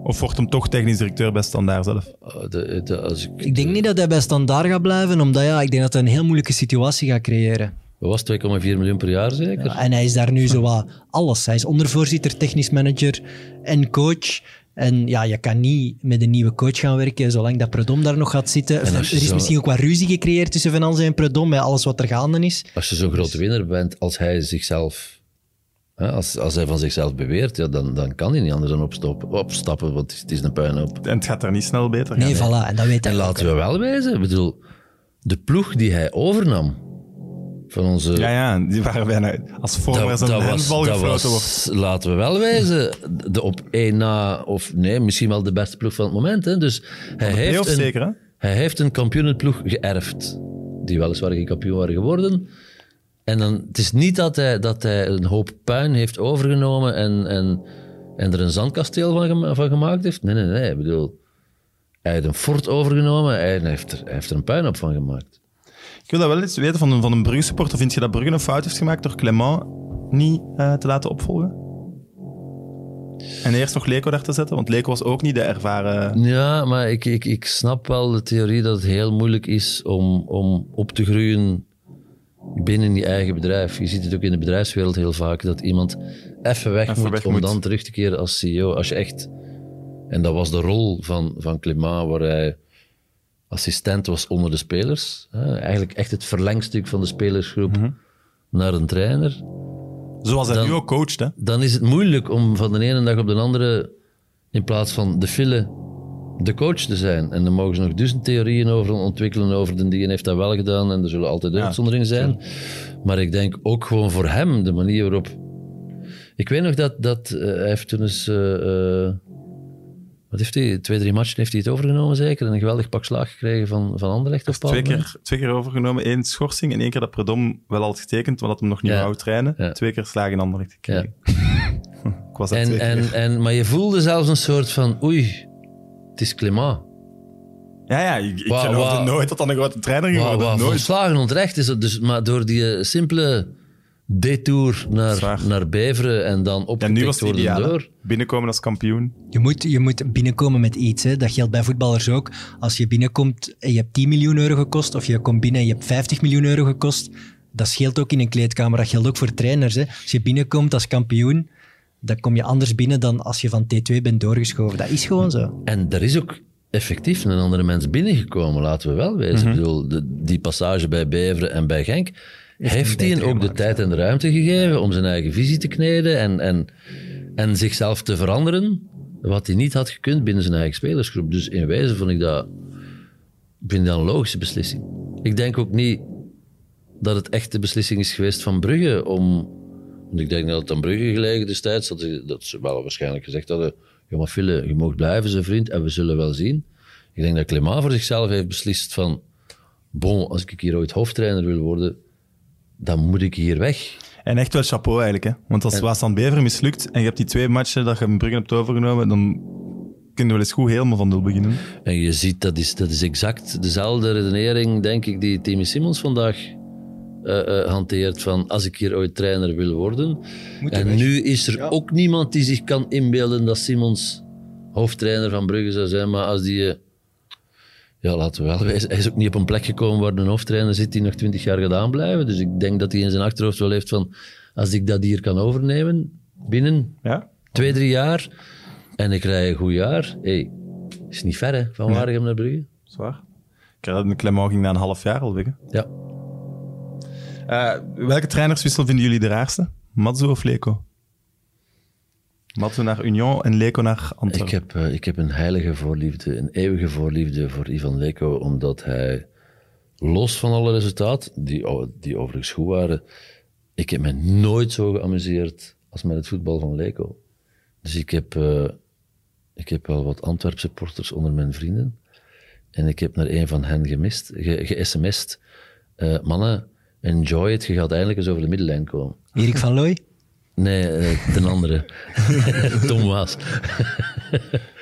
Of wordt hem toch technisch directeur bij Standaard zelf?
Ah, de- de- als ik,
Ik denk niet dat hij bij standaard gaat blijven, omdat ja, ik denk dat hij een heel moeilijke situatie gaat creëren.
Wat was het, 2,4 miljoen per jaar zeker?
Ja, en hij is daar nu zo wat alles. Hij is ondervoorzitter, technisch manager en coach. En ja, je kan niet met een nieuwe coach gaan werken zolang dat Predom daar nog gaat zitten.
En
Er
als je
is
zo-
misschien ook wat ruzie gecreëerd tussen Van Anzen en Predom bij alles wat er gaande is.
Als je zo'n
Dus-
grote winnaar bent als hij zichzelf... Hè, als, als hij van zichzelf beweert, ja, dan, dan kan hij niet anders dan opstoppen, opstappen, want het is, het is een puinhoop.
En het gaat er niet snel beter.
Nee,
gaan, hè.
voilà. En dat weet hij
En
ook,
laten
hè.
we wel wezen, ik bedoel, de ploeg die hij overnam van onze
Ja, ja, die waren bijna als vormers een handbal gefloten wordt.
was, Laten we wel wijzen, de op één na, of nee, misschien wel de beste ploeg van het moment. Hè. Dus hij heeft,
playoffs
een,
zeker, hè?
hij heeft een kampioenenploeg geërfd, die weliswaar geen kampioen waren geworden. En dan, het is niet dat hij, dat hij een hoop puin heeft overgenomen en, en, en er een zandkasteel van, gema- van gemaakt heeft. Nee, nee, nee. Ik bedoel, hij heeft een fort overgenomen en heeft er, hij heeft er een puinhoop van gemaakt.
Ik wil dat wel eens weten van een, van een Brugge-supporter. Vind je dat Brugge een fout heeft gemaakt door Clement niet eh, te laten opvolgen? En eerst nog Leko daar te zetten, want Leko was ook niet de ervaren...
Ja, maar ik, ik, ik snap wel de theorie dat het heel moeilijk is om, om op te groeien binnen je eigen bedrijf. Je ziet het ook in de bedrijfswereld heel vaak, dat iemand even weg
Even
moet
weg
om
moet.
dan terug te keren als CEO. Als je echt... En dat was de rol van, van Clément, waar hij
Mhm.
assistent was onder de spelers. hè. Eigenlijk echt het verlengstuk van de spelersgroep naar een trainer,
Zoals hij
Dan-
nu ook coacht, hè.
dan is het moeilijk om van de ene dag op de andere, in plaats van de file, de coach te zijn. En dan mogen ze nog duizend theorieën over ontwikkelen, over de die heeft dat wel gedaan en er zullen altijd uitzonderingen zijn. Maar ik denk ook gewoon voor hem, de manier waarop... Ik weet nog dat, dat eh, hij heeft toen eens... eh, eh, wat heeft hij? Twee, drie matchen heeft hij het overgenomen zeker. En een geweldig pak slaag gekregen van, van Anderlecht of
Twee keer, twee keer overgenomen, één schorsing en één keer dat Predom wel al had getekend, want dat hem nog niet
Ja.
wou trainen.
Ja.
Twee keer slagen ander gekregen. [laughs] Ik was dat
En,
twee keer.
en, en, maar je voelde zelfs een soort van... Oei, het is klimaat.
Ja, ja, ik, ik
Wauw,
geloofde
wauw.
nooit dat dat een grote trainer ging
Waar,
worden.
waar
nooit.
volslagen onterecht is het dus, maar door die eh, simpele detour
is waar.
naar, naar Beveren en dan
En
opgetikt
nu was het
worden
ideaal. hè.
door.
Binnenkomen als kampioen.
Je moet, je moet binnenkomen met iets. Hè. Dat geldt bij voetballers ook. Als je binnenkomt en je hebt 10 miljoen euro gekost, of je komt binnen en je hebt 50 miljoen euro gekost, dat scheelt ook in een kleedkamer. Dat geldt ook voor trainers. Hè. Als je binnenkomt als kampioen, dan kom je anders binnen dan als je van T2 bent doorgeschoven. Dat is gewoon zo.
En er is ook effectief een andere mens binnengekomen, laten we wel wezen. Ik bedoel, de- die passage bij Beveren en bij Genk, heeft hij ook de tijd en de ruimte gegeven om zijn eigen visie te kneden en, en, en zichzelf te veranderen, wat hij niet had gekund binnen zijn eigen spelersgroep. Dus in wezen vond ik dat, ik vind dat een logische beslissing. Ik denk ook niet dat het echt de beslissing is geweest van Brugge om... Want ik denk dat het aan Brugge gelegen destijds, dat, ze- dat ze wel waarschijnlijk gezegd hadden, ja maar Fille, je mag blijven zijn vriend en we zullen wel zien. Ik denk dat Clément voor zichzelf heeft beslist van, bon, als ik hier ooit hoofdtrainer wil worden, dan moet ik hier weg.
En echt wel chapeau eigenlijk. Hè? Want als Waasland Bever mislukt en je hebt die twee matchen dat je een Brugge hebt overgenomen, dan kunnen we wel eens goed helemaal van nul beginnen.
En je ziet, dat is, dat is exact dezelfde redenering, denk ik, die Timmy Simmons vandaag eh, eh, hanteert. Van als ik hier ooit trainer wil worden. en nu is er ook niemand die zich kan inbeelden dat Simmons hoofdtrainer van Brugge zou zijn. Maar als die. eh, ja, laten we wel wezen. Hij is ook niet op een plek gekomen waar een hoofdtrainer zit die nog twintig jaar gaat aanblijven. Dus ik denk dat hij in zijn achterhoofd wel heeft van. Als ik dat hier kan overnemen binnen
Ja?
Twee, drie jaar. En ik rij een goed jaar. hey, is niet ver, hè? Van Waregem naar Brugge.
Zwaar. Ik herinner me, Clement ging na een half jaar al weg. hè.
Ja.
Eh, welke trainerswissel vinden jullie de raarste? Matzo of Leko? Matzo naar Union en Leko naar
Ik
Antwerpen.
heb, eh, ik heb een heilige voorliefde, een eeuwige voorliefde voor Ivan Leko, omdat hij, los van alle resultaten, die, o- die overigens goed waren, ik heb me nooit zo geamuseerd als met het voetbal van Leko. Dus ik heb, eh, ik heb wel wat Antwerp supporters onder mijn vrienden. En ik heb naar een van hen gemist, ge- ge-sms'd. eh, mannen, enjoy it, je gaat eindelijk eens over de middellijn komen.
Erik van Looy?
Nee, eh, ten andere. [laughs] Tom Waas.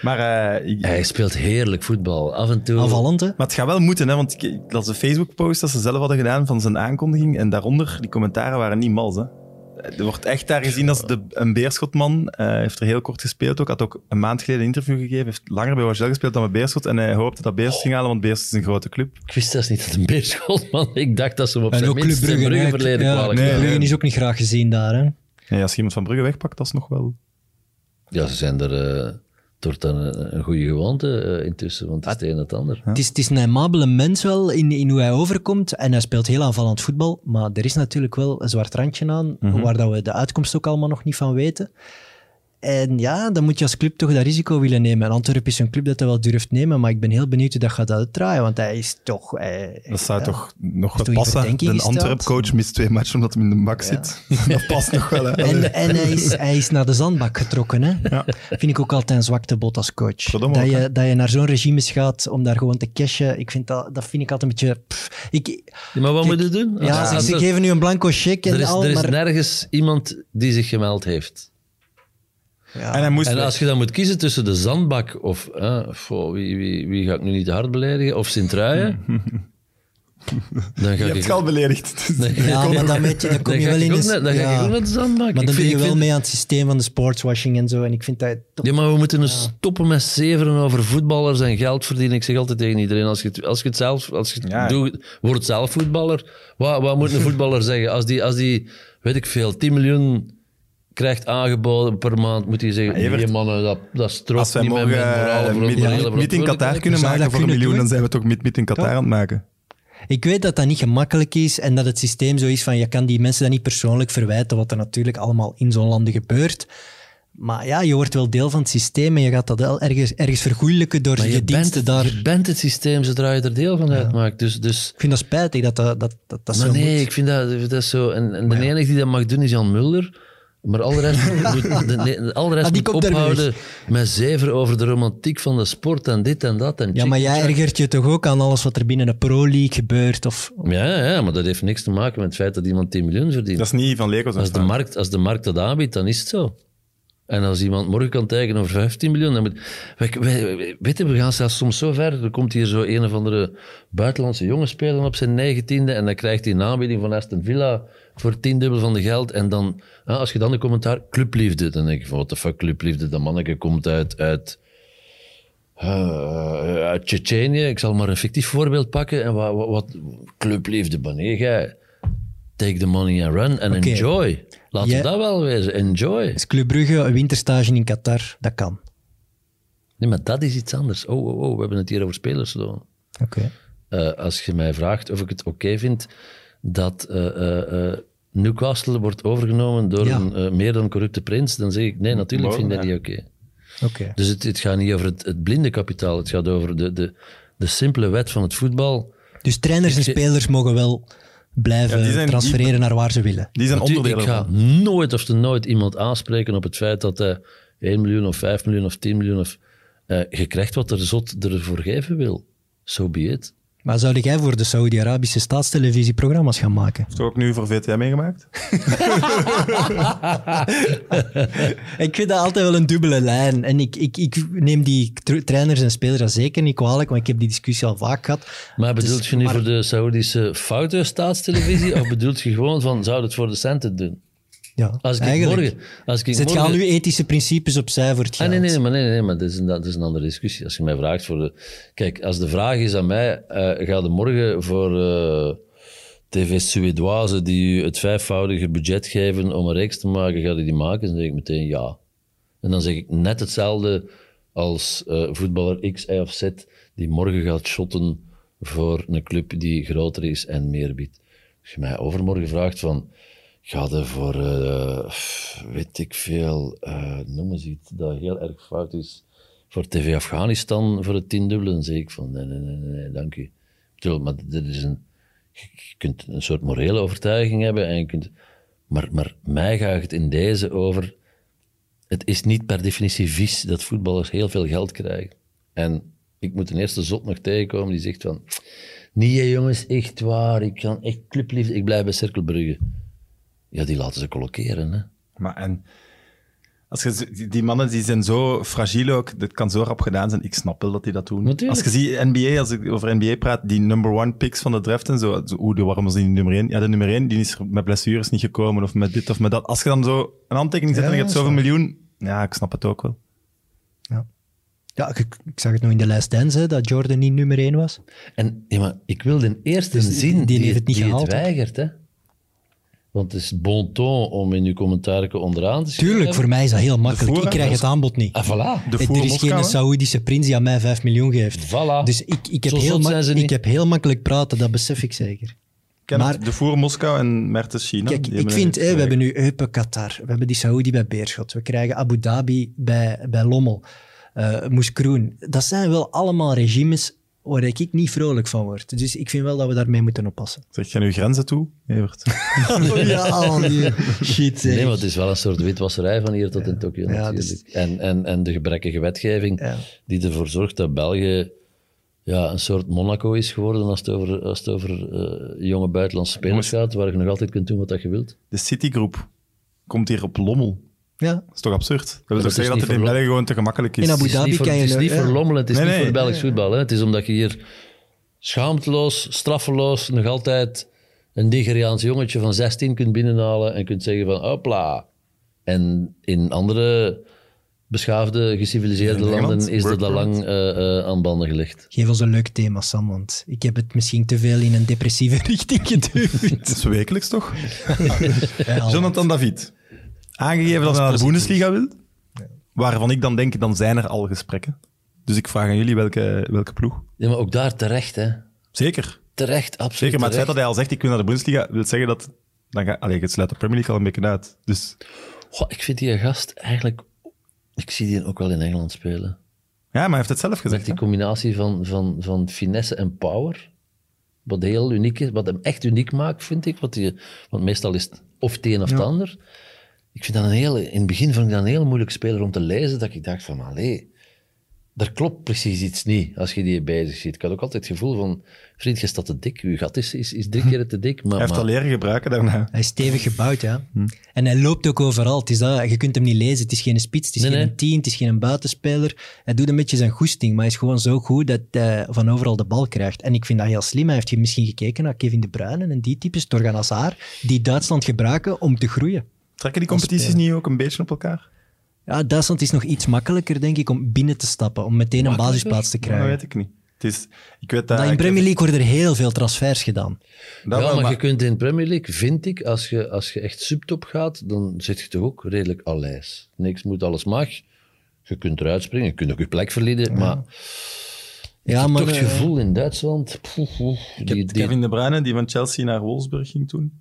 Maar, eh, ik-
Hij speelt heerlijk voetbal. Af en toe.
Aanvallend, hè?
maar het gaat wel moeten, hè, want ik, ik las een Facebook-post dat ze zelf hadden gedaan van zijn aankondiging. En daaronder, die commentaren waren niet mals. Hè. Er wordt echt daar gezien als de, een beerschotman. Eh, Hij heeft er heel kort gespeeld ook. Had ook een maand geleden een interview gegeven. Heeft langer bij Wagel gespeeld dan bij Beerschot. En hij hoopte dat Beerschot ging halen, want Beerschot is een grote club.
Ik wist zelfs niet dat het een beerschot man. Ik dacht dat ze hem op
En
zijn
ook Club
minst een
Brugge.
Brugge
hè.
verleden
Ja,
kwalijk
Club
Nee,
namen.
Brugge is ook niet graag gezien daar, hè?
Ja, als je iemand van Brugge wegpakt, dat is nog wel...
Ja, ze zijn er eh, door dan een, een goede gewoonte eh, intussen, want het is het een en het ander.
Het is, het is een aimabele mens wel in, in hoe hij overkomt. En hij speelt heel aanvallend voetbal. Maar er is natuurlijk wel een zwart randje aan.
Mhm.
Waar dat we de uitkomst ook allemaal nog niet van weten. En ja, dan moet je als club toch dat risico willen nemen. En Antwerpen is een club dat dat wel durft nemen. Maar ik ben heel benieuwd hoe dat gaat uitdraaien. Want hij is toch... eh, hij-
Dat zou
ja.
toch nog
toch
wel
in
passen.
verdenking
Een
gesteld?
Antwerp-coach mist twee matchen omdat hij in de bak zit. [laughs] Dat past nog wel. Hè? Allee.
En, en hij, is, hij is naar de zandbak getrokken. Hè? Vind ik ook altijd een zwaktebod als coach.
Verdomme
dat,
ook,
je, dat je naar zo'n regimes gaat om daar gewoon te cashen. Ik vind dat, dat vind ik altijd een beetje... pff, ik,
Ja, maar wat
Kijk,
moet je doen?
ja,
Als-
ze-
als
ze
er-
geven nu een blanco check en
er is,
al,
er is
maar...
nergens iemand die zich gemeld heeft.
En hij moest
En
weg.
als je dan moet kiezen tussen de zandbak of eh, goh, wie, wie, wie ga ik nu niet te hard beledigen,
[laughs]
of Sint-Truiden, dan ga
Je hebt
ik
het al beledigd. Dus
Nee.
Ja, maar dan, weet je, dan kom
[laughs] Dan
je
ga
wel
ik
in...
ook
de-
naar- dan ga ik
ja.
ook naar de zandbak.
Maar
Ik
dan
vind-
doe je
ik
wel
vind-
mee aan het systeem van de sportswashing en zo. En ik vind dat... toch-
Ja, maar we moeten eens stoppen met zeveren over voetballers en geld verdienen. Ik zeg altijd tegen iedereen, als je het, als je het zelf als je het
Ja.
doet, word zelf voetballer. Wat, wat moet een voetballer [laughs] zeggen? Als die, als die, weet ik veel, 10 miljoen krijgt aangeboden per maand, moet hij zeggen,
Maar Evert,
nee mannen, dat, dat strookt
Als wij
niet met mijn
morgen
morale
eh,
voor-
mid-
morele
mid- mid in Qatar
verantwoordelijkheid."
kunnen
Zou
maken
dat
voor een
kunnen
miljoen,
doen?
dan zijn we toch mid mid in Qatar aan het maken.
Ik weet dat dat niet gemakkelijk is en dat het systeem zo is van je kan die mensen dat niet persoonlijk verwijten, wat er natuurlijk allemaal in zo'n landen gebeurt. Maar ja, je wordt wel deel van het systeem en je gaat dat wel ergens, ergens vergoeilijken door
Maar
je, diensten
bent,
daar.
je bent het systeem zodra je er deel van uitmaakt. Dus, dus,
Ik vind dat spijtig dat dat, dat, dat, dat
maar
zo
nee,
moet.
ik vind dat, dat is zo. En, en de enige die dat mag doen is Jan Mulder. Maar al de
[laughs]
rest moet, de, nee, al de rest
Ah, die
moet
komt er weer.
ophouden met zever over de romantiek van de sport en dit en dat. En
Ja, maar jij ergert je toch ook aan alles wat er binnen de pro-league gebeurt? Of,
Ja, ja, maar dat heeft niks te maken met het feit dat iemand 10 miljoen verdient.
Dat is niet van Lego
Als de,
zijn
markt, als de markt dat aanbiedt, dan is het zo. En als iemand morgen kan tekenen over 15 miljoen, dan moet... Wij, wij- wij- weet je, we gaan zelfs soms zo ver, er komt hier zo een of andere buitenlandse jongen spelen op zijn negentiende en dan krijgt hij een aanbieding van Aston Villa voor tiendubbel van de geld. En dan, ah, als je dan de commentaar, clubliefde, dan denk je van, what the fuck, clubliefde, dat manneke komt uit... uit eh, uit Tsjetsjenië, ik zal maar een fictief voorbeeld pakken. En wat, wat, wat clubliefde, wanneer jij? Take the money and run and
Oké.
enjoy. Laten
Ja.
we dat wel wezen, enjoy.
is Dus Club Brugge een winterstage in Qatar? Dat kan.
Nee, maar dat is iets anders. Oh, oh, oh, we hebben het hier over spelersloon.
Oké.
Eh, als je mij vraagt of ik het oké vind dat eh, eh, eh, Newcastle wordt overgenomen door
Ja.
een eh, meer dan corrupte prins, dan zeg ik nee, natuurlijk
Wow,
vind ik dat
ja.
niet oké.
Oké.
Dus het, het gaat niet over het, het blinde kapitaal, het gaat over de, de, de simpele wet van het voetbal.
Dus trainers en
Ik-
spelers mogen wel
Ja,
blijven
die zijn
transfereren naar waar ze willen.
Die zijn
Natuurlijk,
onderdelen
Ik ga
van.
nooit of te nooit iemand aanspreken op het feit dat hij 1 miljoen of 5 miljoen of 10 miljoen of... eh, je krijgt wat er zot ervoor geven wil. So be it.
Maar zou jij voor de Saudi-Arabische staatstelevisie programma's gaan maken?
Heeft u ook nu voor VTM meegemaakt?
Ik vind dat altijd wel een dubbele lijn. En ik, ik, ik neem die tr- trainers en spelers dat zeker niet kwalijk, want ik heb die discussie al vaak gehad. Dus
Maar bedoelt je nu
maar-
voor de Saoedische foute staatstelevisie of bedoelt je gewoon van, zou het voor de centen doen?
Ja,
Als ik
eigenlijk.
morgen... Als ik
Zet je
morgen...
al nu ethische principes opzij voor het
Ah,
geld?
nee, nee, nee, maar, nee, nee, nee, maar dat, is een, dat is een andere discussie. Als je mij vraagt voor de... Kijk, als de vraag is aan mij, eh ga de morgen voor eh, TV Suédoise die u het vijfvoudige budget geven om een reeks te maken, ga je die maken? Dan zeg ik meteen ja. En dan zeg ik net hetzelfde als eh, voetballer X, Y of Z die morgen gaat shotten voor een club die groter is en meer biedt. Als je mij overmorgen vraagt van, ga er voor, eh, pff, weet ik veel, eh, noem eens iets dat heel erg fout is, voor TV Afghanistan voor het tiendubbele, dan zeg ik van, nee, nee, nee, nee, nee, dank u. Ik bedoel, maar dit is een, je je kunt een soort morele overtuiging hebben en je kunt, maar, maar mij gaat het in deze over, het is niet per definitie vies dat voetballers heel veel geld krijgen. En ik moet een eerste zot nog tegenkomen die zegt van... Nee hè, jongens, echt waar, ik kan echt clubliefde, ik blijf bij Cirkel Brugge." Ja, die laten ze colloceren, hè.
Maar en... Als je, z- die- die mannen die zijn zo fragiel ook, dat kan zo rap gedaan zijn. Ik snap wel dat die dat doen.
Natuurlijk.
Als je ziet NBA, als ik over NBA praat, die number one picks van de draft en zo. zo, Oeh, de- waarom was die nummer één? Ja, de nummer één die is er met blessures niet gekomen of met dit of met dat. Als je dan zo een handtekening zet en je hebt zoveel miljoen, ja, ik snap het ook wel.
Ja, ik, ik zag het nog in de lijst Dance, hè, dat Jordan niet nummer één was.
En ja, maar ik wil de eerste
Dus die-
zien
die
die,
heeft het niet
die
gehaald, hè?
weigert, hè. Want het is bon ton om in uw commentaar onderaan te schrijven.
Tuurlijk, voor mij is dat heel makkelijk.
voor-
Ik krijg het aanbod niet.
Ah, voilà.
De
Het-
voor
Eh, er is
Moskou,
geen
hè?
Saoedische prins die aan mij 5 miljoen geeft.
Voilà.
Dus ik, ik, heb
Zo
heel
zot
ma-
zijn ze niet.
ik heb heel makkelijk praten, dat besef ik zeker.
Ken het?
Maar-
de voor Moskou en Mertens China.
Kijk,
Nou, Die
ik
hebben
vind,
een-
hè, we hebben nu Eupen Qatar, we hebben die Saoedi bij Beerschot, we krijgen Abu Dhabi bij, bij Lommel, eh Moes Kroen. Dat zijn wel allemaal regimes waar ik niet vrolijk van word. Dus ik vind wel dat we daarmee moeten oppassen.
[laughs]
[laughs]
Zeg je nu grenzen toe, Evert?
ja, al die shit. zeg.
Nee, maar het is wel een soort witwasserij van hier tot in Tokio
Ja,
natuurlijk.
dus-
En, en, en de gebrekkige wetgeving
Ja.
die ervoor zorgt dat België ja, een soort Monaco is geworden als het over, als het over eh, jonge buitenlandse spelers gaat, waar je nog altijd kunt doen wat dat je
[laughs]
wilt.
De Citigroep komt hier op Lommel.
Ja.
Dat is dus toch absurd? Dat wil
dat
toch
is
zeggen dat
niet
het in
verlo-
België gewoon te gemakkelijk is.
In Abu
Het is
Dhabi
niet voor,
kan
het
je
is niet
nog,
voor
hè?
Lommelen, het is
Nee,
niet
nee.
voor Belgisch voetbal. Hè. Het is omdat je hier schaamteloos, straffeloos, nog altijd een Nigeriaans jongetje van 16 kunt binnenhalen en kunt zeggen van hopla. En in andere beschaafde, geciviliseerde
In Engeland,
landen is dat
work
al lang eh, eh, aan banden gelegd.
Geef ons een leuk thema, Sam, want ik heb het misschien te veel in een depressieve [laughs] richting geduwd.
Het is wekelijks toch?
[laughs] Ja,
Jonathan David. Aangegeven dat hij naar de Bundesliga wil. Waarvan ik dan denk, dan zijn er al gesprekken. Dus ik vraag aan jullie welke, welke ploeg.
Ja, maar ook daar terecht, hè.
Zeker.
terecht, absoluut
Zeker, maar het feit
terecht.
dat hij al zegt, ik wil naar de Bundesliga, wil zeggen dat... Dan ga, allee, het sluit de Premier League al een beetje uit. Dus
Goh, ik vind die gast eigenlijk... Ik zie die ook wel in Engeland spelen.
ja, maar hij heeft het zelf gezegd.
Met die
hè.
combinatie van, van, van finesse en power. Wat heel uniek is. Wat hem echt uniek maakt, vind ik. Wat die, want meestal is het of het een of het ander. Ik vind dat een heel, in het begin vond ik dat een heel moeilijk speler om te lezen. Dat ik dacht van, allee, daar klopt precies iets niet als je die bezig ziet. Ik had ook altijd het gevoel van, vriend, je staat te dik. Je gat is,
[laughs]
is, is drie keer te dik. Maar,
Hij heeft
maar-
al leren gebruiken daarna.
Hij is stevig gebouwd, ja.
Hm.
En hij loopt ook overal. Het is dat, je kunt hem niet lezen. Het is geen spits, het is
Nee,
geen
nee.
tien, het is geen buitenspeler. Hij doet een beetje zijn goesting, maar hij is gewoon zo goed dat hij van overal de bal krijgt. En ik vind dat heel slim. Hij heeft misschien gekeken naar Kevin De Bruyne en die types, Torgan Hazard, die Duitsland gebruiken om te groeien.
Trekken die competities niet ook een beetje op elkaar?
Ja, Duitsland is nog iets makkelijker, denk ik, om binnen te stappen, om meteen een
Makkelijker?
basisplaats te
Dat
krijgen.
weet ik niet. Het is, ik weet dat...
Want in Premier League worden er heel veel transfers gedaan.
dat
ja,
wel,
maar,
maar-
je kunt in Premier League, vind ik, als je, als je echt subtop gaat, dan zit je toch ook redelijk alijs. Niks moet, alles mag. Je kunt eruit springen, je kunt ook je plek verliezen, maar
Ja,
ja,
maar,
toch het
eh,
gevoel in Duitsland... poeh, poeh, die- die-
Kevin De Bruyne, die van Chelsea naar Wolfsburg ging toen.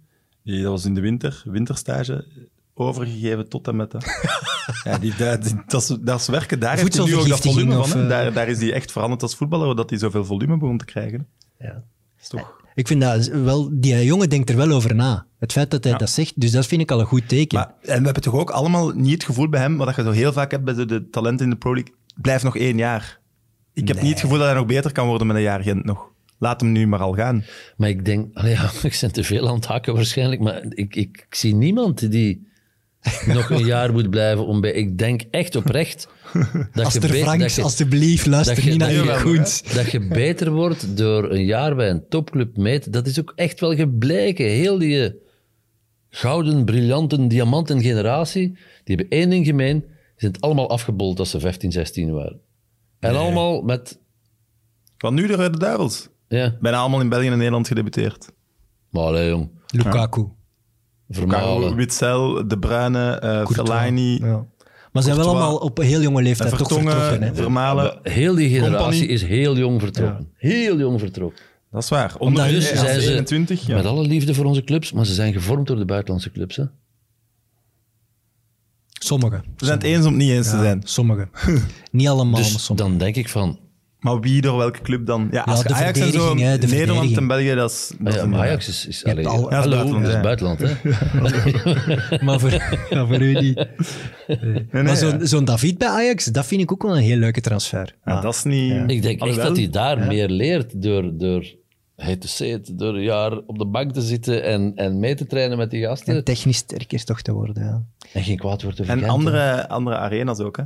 Die, dat was in de winter, winterstage, overgegeven tot en met. hè.
[laughs]
ja, die, dat- die- dat, is, dat is werken. Daar heeft hij nu ook dat
Voedselvergiftiging
volume
of,
van. hè.
eh,
Daar, daar is hij echt veranderd als voetballer, dat hij zoveel volume begon te krijgen. hè.
Ja.
Dat is toch...
Ik vind dat wel, die jongen denkt er wel over na. Het feit dat hij dat zegt, dus dat vind ik al een goed teken.
Maar, en we hebben toch ook allemaal niet het gevoel bij hem, wat dat je zo heel vaak hebt bij de, de talenten in de Pro League, blijf nog één jaar. Ik heb niet het gevoel dat hij nog beter kan worden met een jaar Gent nog. Laat hem nu maar al gaan.
Maar ik denk, [laughs] allee, ja, ik ben te veel aan het hakken waarschijnlijk, maar ik, ik, ik zie niemand die nog een jaar moet blijven om bij... Ik denk echt oprecht dat je...
Aster
be- dat
Franks,
je-
alstublieft, luister niet naar
dat
Erik Goens.
dat je beter wordt door een jaar bij een topclub mee te- Dat is ook echt wel gebleken. Heel die eh, gouden, briljanten, diamanten generatie, die hebben één ding gemeen. Die zijn allemaal afgebold als ze 15, 16 waren. En allemaal met...
Want nu de Rode Duivels.
Ja,
Bijna allemaal in België en Nederland gedebuteerd.
maar allee, jong.
Lukaku.
Karel,
Vermalen.
Witzel, De Bruyne, eh
Courtois.
Fellaini,
Ja. Maar ze zijn wel
Courtois.
allemaal op een heel jonge
en
leeftijd toch vertrokken.
Vertongen,
Hè?
Vermalen.
Heel die generatie
Company.
is heel jong vertrokken. Heel jong vertrokken.
Dat is waar. Onder
Omdat
de
Dus
Ja,
zijn ze,
21. Ja.
met alle liefde voor onze clubs, maar ze zijn gevormd door de buitenlandse clubs. Hè?
Sommigen.
We zijn het eens om het niet eens te zijn.
Sommigen. [laughs] niet allemaal, maar
Dus
sommigen.
dan denk ik van,
Maar wie door welke club dan? Ja, als
Ja,
je
de
Ajax en zo,
verdediging, hè, de
Nederland
verdediging.
en België, dat is... dat
Ah
is
ja,
een-
maar Ajax is, is, allee,
hebt al-
hallo,
Ja, dat is
dat is buitenland. Hè?
Maar voor,
[laughs]
ja, voor u niet.
Nee, nee,
maar zo'n
ja.
zo'n David bij Ajax, dat vind ik ook wel een heel leuke transfer. Ah,
Ja,
Maar
dat is niet...
Ik denk echt
Alhoewel,
dat hij daar meer leert door, door heet to say it, door een jaar op de bank te zitten en, en mee te trainen met die gasten.
en
En,
technisch sterker toch te worden. Ja.
geen kwaad wordt over
En
Gent, hè.
andere, andere arenas ook, hè.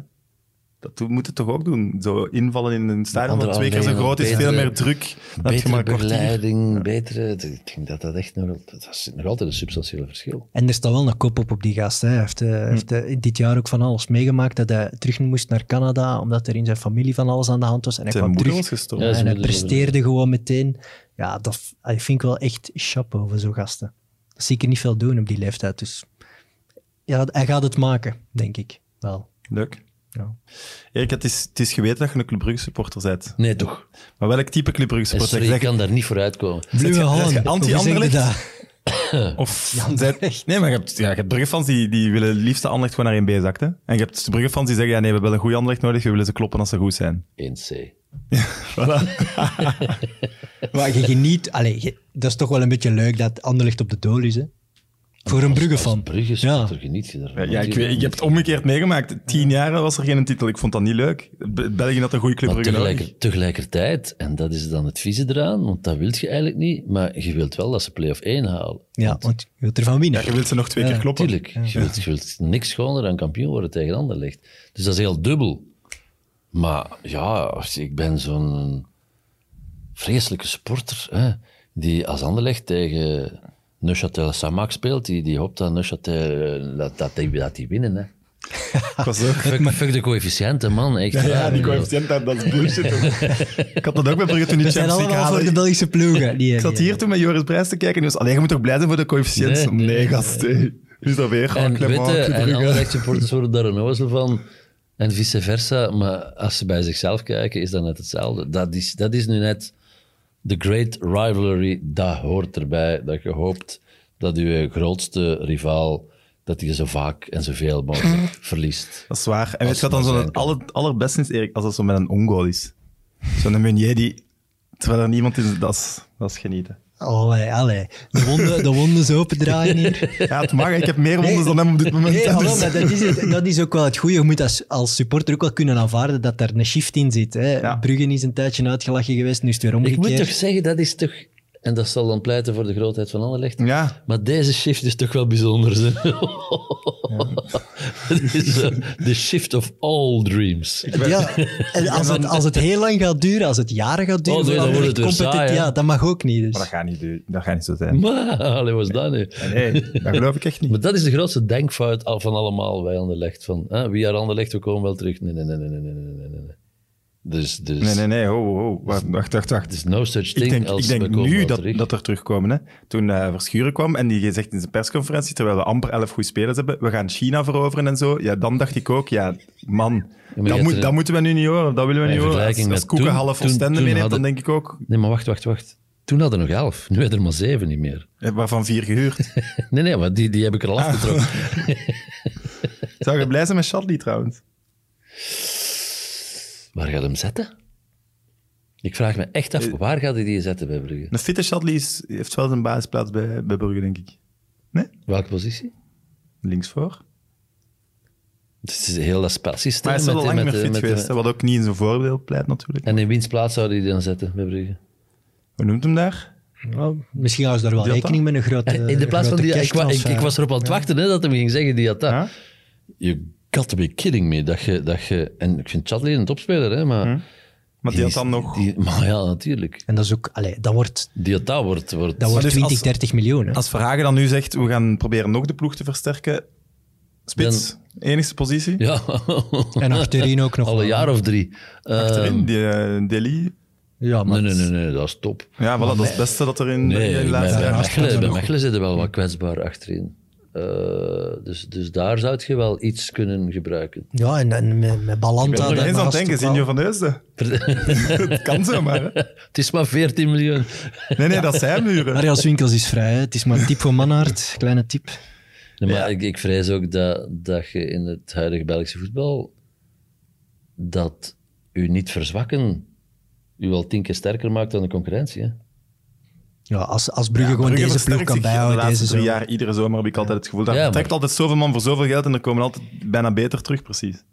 Dat do- moet het toch ook doen? Zo invallen in een stadion dat
Andere
twee keer zo
arena,
groot is, veel
betere-
meer druk. Dan heb je maar
Betere
een kwartier.
begeleiding, betere... Ik denk dat dat echt nog... wel- Dat is nog altijd een substantieel verschil.
En er staat wel een kop op op die gast. Hè. Hij heeft, eh,
Hm.
heeft eh, dit jaar ook van alles meegemaakt. Dat hij terug moest naar Canada, omdat er in zijn familie van alles aan de hand was. En hij
Zijn
kwam
moeder
terug
was gestorven.
Ja,
en hij
moeder is
presteerde gewoon meteen. Ja, dat v- ik vind ik wel echt chapeau voor zo'n gasten. Dat zie ik er niet veel doen op die leeftijd. Dus ja, hij gaat het maken, denk ik wel.
Leuk.
Ja.
Erik, het is, het is geweten dat je een Club Brugge supporter bent.
Nee, toch.
Maar welk type Club Brugge
En
supporter?
sorry, ik
Zeg-
kan daar niet voor uitkomen.
Zet
Blue
je- zet je
Holland.
anti-Anderlecht? [laughs]
daar?
Of
[laughs]
zij- nee, maar je hebt, ja, je hebt Brugge-fans die, die willen het liefst de Anderlecht gewoon naar 1B zakt. Hè? En je hebt Brugge-fans die zeggen, ja, nee, we hebben wel een goede Anderlecht nodig, we willen ze kloppen als ze goed zijn.
1C.
Maar je geniet... Allee, je- dat is toch wel een beetje leuk dat Anderlecht op de dool is, hè? Voor een Brugge van.
Brugge is
Ja.
er geniet je
Ja,
ervan.
ja, ik, weet, ik heb het omgekeerd meegemaakt. Tien jaar was er geen titel, ik vond dat niet leuk. Be- België had een goede Club
Maar
Brugge nodig.
tegelijker- tegelijkertijd, en dat is dan het vieze eraan, want dat wil je eigenlijk niet, maar je wilt wel dat ze play-off 1 halen.
Ja, want je wilt ervan winnen.
Ja, je wilt ze nog twee keer kloppen.
Tuurlijk, je wilt, je wilt niks schoner dan kampioen worden tegen Anderlecht. Dus dat is heel dubbel. Maar ja, als- ik ben zo'n vreselijke sporter, hè, die als Anderlecht tegen Neuchâtel Samak speelt, die, die hoopt dat Neuchâtel, eh, dat, dat, die, dat die winnen. Hè.
Ik was ook... [laughs]
Fuck, fuck de coëfficiënten, man. Echt,
Ja, die
ik bedoel-
coëfficiënt, dat, dat is bullshit. ik had dat ook bij Brugge toen die
We zijn
Champions League
allemaal voor de
haalde.
Belgische
[laughs]
ploegen. Die,
Ik zat hier toen met Joris Brijs te kijken en die was, allee, je moet toch blij zijn voor de coëfficiënt?
Nee,
Nee,
nee,
gast. hey. Nu is dat weer gewoon
En
Clement,
witte
Club
en
Brugge.
Anderlecht supporters worden daar een ozel van. En vice versa. Maar als ze bij zichzelf kijken, is dat net hetzelfde. Dat is, dat is nu net The Great Rivalry, dat hoort erbij. Dat je hoopt dat je grootste rivaal, dat die zo vaak en zoveel mogelijk verliest.
Dat is waar. En weet je wat dan
het maar
zo
zijn
het
kan.
aller, allerbeste is, Erik, als dat zo met een ongoal is. Zo'n Meunier die, terwijl er niemand is, dat is, dat is genieten.
eh, oh, Allee, allee. De wonden, de wonden zo
[laughs]
opendraaien hier.
Ja, het mag. Ik heb meer wonders dan hem op dit moment.
Nee,
hè,
hallo,
dus-
maar dat, is het- dat is ook wel het goede. Je moet als, als supporter ook wel kunnen aanvaarden dat daar een shift in zit. Hè.
Ja.
Bruggen is een tijdje uitgelachen geweest, nu is het weer
Ik moet
omgekeerd.
toch zeggen, dat is toch... En dat zal dan pleiten voor de grootheid van Anderlecht.
Ja.
Maar deze shift is toch wel bijzonder. hè? [laughs] Het is eh, de shift of all
[laughs]
dreams.
Ja, en als het, als het heel lang gaat duren, als het jaren gaat duren,
Oh nee, dan
voordat
wordt het
echt
weer
competitie-
saai, hè?
ja, dat mag ook niet.
Maar dat
Dus.
gaat niet, doen. dat gaat niet zo zijn.
[laughs] Maar, allee, wat is dat nu?
Nee, dat geloof ik echt niet.
Maar dat is de grootste denkfout al- van allemaal bij Anderlecht. Van, hè, wie aan Anderlecht, we komen wel terug. Nee, nee, nee, nee, nee, nee, nee, nee, nee. Dus, dus
Nee, nee, nee. Ho, ho, ho. Wacht, wacht, wacht. wacht.
het is no such thing
Ik denk,
als
ik denk
we komen
nu
wel
dat,
terug.
dat er terugkomen. Hè. Toen eh, Verschuren kwam en die zegt in zijn persconferentie, terwijl we amper elf goede spelers hebben, we gaan China veroveren en zo. Ja, dan dacht ik ook, ja, man,
je
dat,
hebt
moet,
er-
dat moeten we nu niet horen. Dat willen we
In
niet horen. Als,
vergelijking
als
met
Koeken
toen-
half
toen-
Oostende
toen
meeneemt, dan
hadden-
denk ik ook,
Nee, maar wacht, wacht, wacht. Toen hadden er nog elf. Nu hebben er maar zeven niet meer. [laughs]
eh, waarvan vier gehuurd.
Nee, nee, maar die, die heb ik er al afgetrokken.
Ah. Zou je blij zijn met Shadley trouwens?
Waar gaat hem zetten? Ik vraag me echt
Eh.
af, waar gaat hij die zetten bij Brugge?
Een fitte Shadley is- heeft wel zijn basisplaats bij, bij Brugge, denk ik. Nee?
Welke positie?
Linksvoor.
Het is heel dat
Maar
spelsysteem.
hij is wel
met-
al lang niet
met-
meer fit
met-
geweest, hè, wat ook niet in zijn voordeel pleit natuurlijk.
En in wiens plaats zou hij die dan zetten bij Brugge?
Hoe noemt hem daar?
Nou, misschien houden ze daar wel
Die had
rekening Eh, met een grote
Eh, in de plaats van
grote eh,
die... Ik, wa- ik,
cashtransfer.
ik was erop aan het wachten hè, dat hij ging zeggen die had dat.
Ja?
You got to be kidding me. Dat je, dat je, en ik vind Chadley een topspeler, hè, maar...
Hm.
Maar die had
is-
dan nog...
die- maar ja, natuurlijk.
En dat is ook, allee, dat wordt,
Die had dat wordt... wordt
dat wordt
dus
20,
als-
30 miljoen. hè.
Als Verhagen dan nu zegt, we gaan proberen nog de ploeg te versterken. Spits, enigste positie.
Ja.
En achterin ook nog
Al een
wel.
jaar of drie.
Achterin,
Ehm,
die eh, Deli.
Ja, maar
nee, nee, nee, nee, dat is top.
Ja, voilà, dat is het beste dat er in
Nee,
de
bij
laatste
bij
jaren
Mechelen, bij
gespeeld is.
Mechelen zit er wel wat kwetsbaar achterin. Eh, dus, dus daar zou je wel iets kunnen gebruiken.
Ja, en, en met, met
Ik
Balanta.
ben er
daarnaast
eens aan het
ook
denken,
wel.
Zinjo van Heusden.
[laughs]
Het kan zomaar. Hè?
Het is maar 14 miljoen.
Nee, nee, dat zijn muren.
Arias Winkels is vrij, hè. het is maar een tip voor Mannaert, kleine tip.
Nee, maar ik, ik vrees ook dat, dat je in het huidige Belgische voetbal dat u niet verzwakken, u wel tien keer sterker maakt dan de concurrentie. Hè?
Ja, als, als Brugge gewoon
Brugge
deze ploeg
versterkt
kan
zich De
bijhouden,
laatste
deze
drie
zomer.
jaar, iedere zomer heb ik altijd het gevoel. Daar
Ja, maar-
trekt altijd zoveel man voor zoveel geld en er komen altijd bijna beter terug, precies.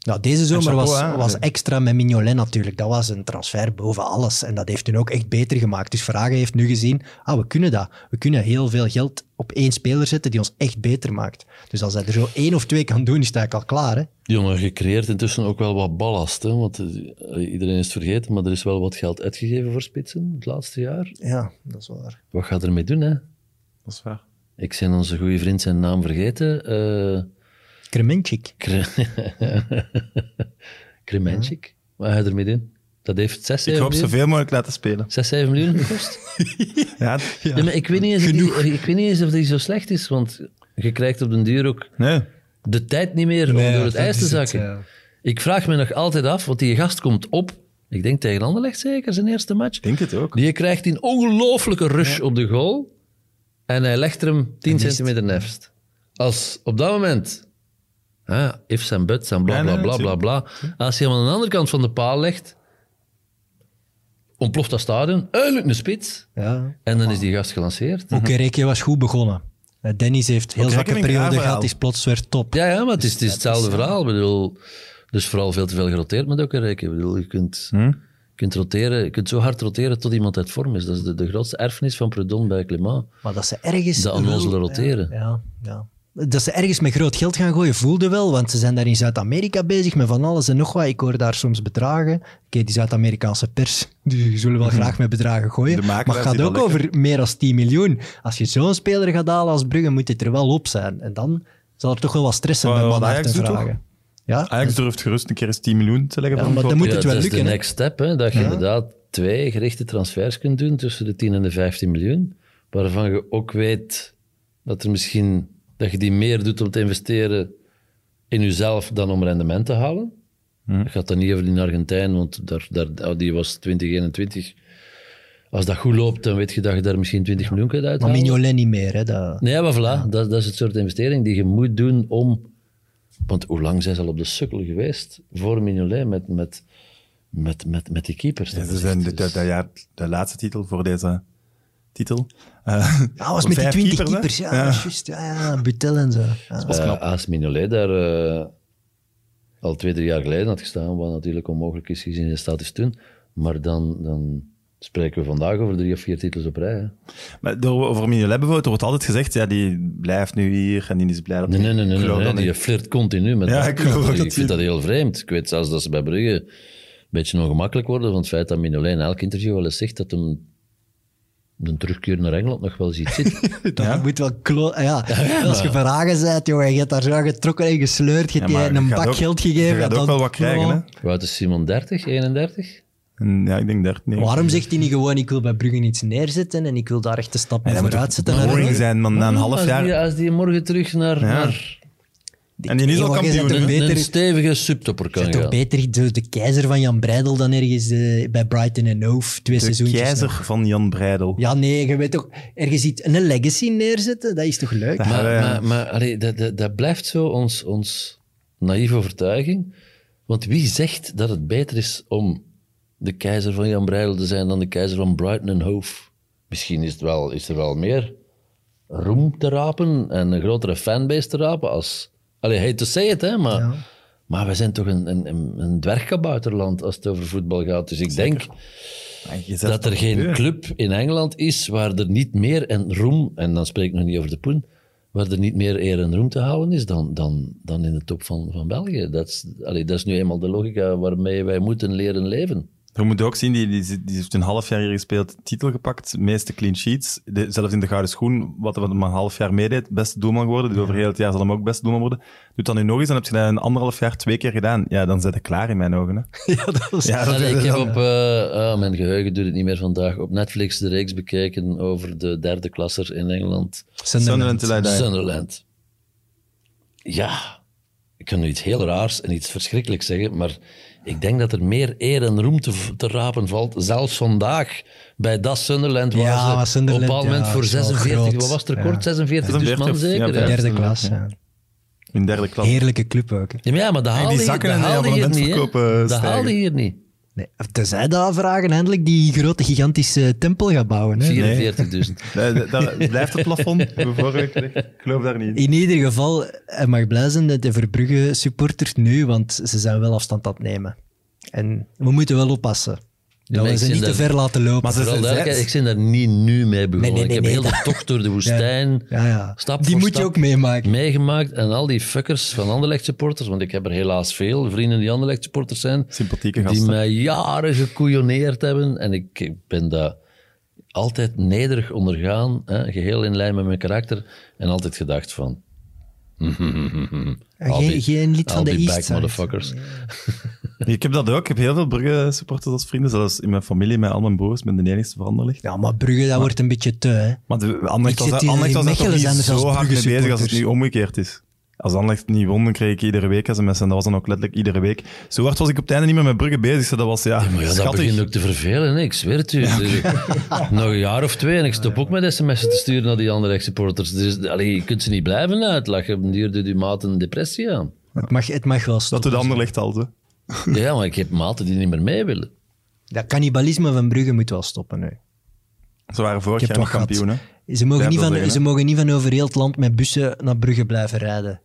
Nou, deze zomer
chapeau, hè.
was, was extra met Mignolet natuurlijk. Dat was een transfer boven alles. En dat heeft hun ook echt beter gemaakt. Dus Vragen heeft nu gezien, ah, we kunnen dat. We kunnen heel veel geld op één speler zetten die ons echt beter maakt. Dus als hij er zo één of twee kan doen, is het eigenlijk al klaar. Hè?
Jongen, je creëert intussen ook wel wat ballast. Hè? Want eh, iedereen is het vergeten, maar er is wel wat geld uitgegeven voor spitsen het laatste jaar.
Ja, dat is waar.
Wat gaat ermee doen, hè?
Dat is waar.
Ik zijn onze goede vriend zijn naam vergeten. eh
Kremenchik.
Kre- [laughs] Kremenchik. Wat ga je ermee doen? Dat heeft 6,
Ik
7
hoop
miljoen,
zoveel mogelijk laten spelen.
6, 7 miljoen gekost.
Ja,
Ja, maar ik weet, niet eens of die, ik weet niet eens of die zo slecht is, want je krijgt op den duur ook
nee.
de tijd niet meer om door het ijs te zakken. Ik vraag me nog altijd af, want die gast komt op, ik denk tegen Anderlecht zeker, zijn eerste match.
Ik denk het ook.
Die krijgt een ongelooflijke rush op de goal en hij legt er hem 10 centimeter nefst. Als op dat moment, hè, if zijn but, zijn bla
Ja,
bla
nee,
bla bla bla, als hij hem aan de andere kant van de paal legt, ontploft dat stadion, eindelijk een spits.
Ja.
En dan is die gast gelanceerd.
Mhm.
Okereke was goed begonnen. Eh, Dennis heeft heel
Okereke
zwakke
een raar
periode
verhaal.
gehad, is plots weer top.
Ja, ja, maar het is, het is hetzelfde verhaal. Ik bedoel, dus vooral veel te veel geroteerd met Okereke. Ik bedoel, je kunt, je kunt roteren, je kunt zo hard roteren tot iemand uit vorm is. Dat is de, de grootste erfenis van Predon bij Clément.
Maar dat ze ergens...
De onnozelen
wel-
roteren.
Ja, ja, ja. Dat ze ergens met groot geld gaan gooien, voelde wel. Want ze zijn daar in Zuid-Amerika bezig met van alles en nog wat. Ik hoor daar soms bedragen. Oké, die Zuid-Amerikaanse pers, die zullen wel graag met bedragen gooien.
Mhm. De
Maar
makelaars
het gaat
die dat
ook over meer dan 10 miljoen. Als je zo'n speler gaat halen als Brugge, moet dit er wel op zijn. En dan zal er toch wel wat stress zijn
Wat-
bij
wat
mannen
Ajax
te
doet,
vragen. Ja?
Ajax durft gerust een keer eens 10 miljoen te leggen.
Ja,
voor een
maar dan
koper.
moet het
Ja,
wel
dat is
lukken.
de
hè.
next step, hè, dat je inderdaad twee gerichte transfers kunt doen tussen de 10 en de 15 miljoen, waarvan je ook weet dat, er misschien, dat je die meer doet om te investeren in jezelf dan om rendement te halen. oh, Het gaat dan niet over die Argentijn, want daar, daar, die was 2021 Als dat goed loopt, dan weet je dat je daar misschien 20 miljoen kunt
Maar
uithalen.
Mignolet niet meer, hè. Dat...
Nee, maar voilà, dat, dat is het soort investering die je moet doen om... Want hoe lang zijn ze al op de sukkel geweest voor Mignolet met, met, met, met, met die keepers?
Ja,
Dat
ze
is
zijn
echt-
dit-
dus-
dat dat jaar de laatste titel voor deze titel. Eh,
Ah, was
voor
met die
vijf
20 keepers,
keepers, hè?
ja. Juist, ja, ja, Butel en zo. Ja.
Eh, Als Mignolet daar eh, al twee, drie jaar geleden had gestaan, wat natuurlijk onmogelijk is gezien de status toen, maar dan, dan spreken we vandaag over drie of vier titels op rij. Hè.
Maar door, over Mignolet bijvoorbeeld, er wordt altijd gezegd, ja, die blijft nu hier en die is blij dat
Nee,
hij-
nee, nee, nee,
Ik
nee,
geloof
nee,
dat
die
niet.
flirt continu met
Ja,
dat.
ik geloof ook dat
Ik vind
die-
dat heel vreemd. Ik weet zelfs dat ze bij Brugge een beetje ongemakkelijk worden van het feit dat Mignolet in elk interview wel eens zegt dat hem een terugkeer naar Engeland nog wel ziet
[laughs]
zitten.
Dat moet wel klo... ah, Ja. Als je verhagen bent, jongen, je hebt daar zo getrokken en gesleurd, je hebt
Ja, maar
je een
je gaat
bak
ook-
geld
Je
gegeven.
gaat
en
ook
dan- Oh.
wel wat krijgen, hè?
Wout is Simon 30, 31?
En, ja, ik denk 13. nee.
Waarom zegt hij niet gewoon, ik wil bij Brugge iets neerzetten en ik wil daar echt een stap naar
Hij moet
vooruit
toch
zetten? En-
boring zijn, man, na een half
als Die,
jaar.
als die morgen terug naar, naar
En die is al
Jongen, je
kampioen,
bent
hè?
een
een,
beter-
een stevige subtopper kan
Zet toch
gaan.
beter de, de keizer van Jan Breidel dan ergens eh, bij Brighton en Hove twee
De
seizoentjes.
keizer van Jan Breidel.
Ja, nee, je weet toch, ergens iets, een legacy neerzetten, dat is toch leuk?
Ja.
Maar,
Ah,
maar, maar allee, dat, dat, dat blijft zo ons, ons naïeve overtuiging. Want wie zegt dat het beter is om de keizer van Jan Breidel te zijn dan de keizer van Brighton en Hove? Misschien is, het wel, is er wel meer roem te rapen en een grotere fanbase te rapen als... Allee, hate to say it, hè, maar... Maar we zijn toch een, een, een, een dwergkabouterland als het over voetbal gaat. Dus ik denk
En je zet
dat er
toch
geen
deur.
club in Engeland is waar er niet meer en roem, en dan spreek ik nog niet over de poen, waar er niet meer eer en roem te houden is dan, dan, dan in de top van, van België. Dat is, allee, dat is nu eenmaal de logica waarmee wij moeten leren leven.
Je moet ook zien, die, die, zit- die heeft een half jaar hier gespeeld, titel gepakt, de meeste clean sheets. De- zelfs in de Gouden Schoen, wat wat hem een half jaar meedeed, beste doelman geworden. Dus over heel het jaar zal hem ook beste doelman worden. Doet dat nu nog eens, dan heb je dat in anderhalf jaar twee keer gedaan. Ja, dan zit je klaar in mijn ogen. Hè.
[laughs] Ja, dat was-
Ja, dat-
Allee, ik heb
dat-
op, eh, ah, mijn geheugen doet het niet meer vandaag, op Netflix de reeks bekeken over de derde klasser in Engeland.
Sunderland
Ah,
till I die.
Sunderland. Ja, ik kan nu iets heel raars en iets verschrikkelijks zeggen, maar ik denk dat er meer eer en roem te, v- te rapen valt, zelfs vandaag, bij dat Sunderland waar
Ja,
ze
maar Sunderland,
op een bepaald
ja,
moment voor
is wel
46,
groot.
wat was het
Ja.
record? 46 dus
46,
man
ja,
zeker.
bij
Ja, ja.
derde klas. Ja.
In derde klas.
Heerlijke club ook. hè.
maar ja, maar dat
die
haalde je-
zakken
dat
en die
haalde je hier niet. hè.
abonnementsverkopen
Dat
stijgen.
haalde je hier niet.
Nee, tenzij dat vragen eindelijk die grote, gigantische tempel gaat bouwen. Hè?
44.000.
Nee, dat- dat blijft het plafond. [laughs] hebben we vorige week gezegd. Ik geloof daar niet in.
In ieder geval, hij mag blij zijn dat de Verbrugge supporters nu, want ze zijn wel afstand aan het nemen. En we moeten wel oppassen. Dat
maar
we
ik
ze
zie
niet te
dat-
ver laten lopen.
Maar ze-
Vooral
ze-
duidelijkheid, ik ben daar niet nu mee begonnen.
Nee, nee, nee,
ik heb
nee,
heel de
dat-
tocht door de woestijn,
ja, ja.
stap
Die
voor
moet je
stap
ook meemaken.
meegemaakt. En al die fuckers van Anderlecht supporters, want ik heb er helaas veel vrienden die Anderlecht supporters zijn,
Sympathieke
die
gasten.
mij jaren gekoeioneerd hebben. En ik ik ben dat altijd nederig ondergaan, hè, geheel in lijn met mijn karakter. En altijd gedacht van...
En
al
geen-
die-
geen lid
al
van de
die
East
back
Side.
motherfuckers.
Ik heb dat ook. Ik heb heel veel Brugge supporters als vrienden. Zelfs in mijn familie, met al mijn broers. Ik ben de enigste verander ligt.
Ja, maar Brugge, dat wordt een beetje te. Hè.
Maar de, Anderlecht
Ik
was,
zit hier
Anderlecht
in
was er toch
Mechelen, zijn er
niet
zelfs
zo hard mee
Brugge
bezig als het
supporters.
nu omgekeerd is. Als Anderlecht niet won, dan kreeg ik iedere week sms. En dat was dan ook letterlijk iedere week. Zo hard was ik op het einde niet meer met Brugge bezig. zo Dat was, ja,
Maar ja, dat
schattig.
begint ook te vervelen, hè. ik zweer het u. Dus, nog een jaar of twee en ik stop ook met sms'en te sturen naar die andere supporters. Dus allee, je kunt ze niet blijven uitlachen. Op een duur doet die maat een depressie
[laughs]
aan.
Het, mag, het mag wel
Dat
stoppen.
doet Anderlecht al, zo.
Ja, maar ik heb maten die niet meer mee willen.
Dat cannibalisme van Brugge moet wel stoppen nu.
Ze waren
Ik
vorig
heb
jaar nog
wat
kampioen, hè.
gehad. Ze mogen,
Ja,
niet
dat
van,
zeggen,
ze
hè.
mogen niet van over heel het land met bussen naar Brugge blijven rijden.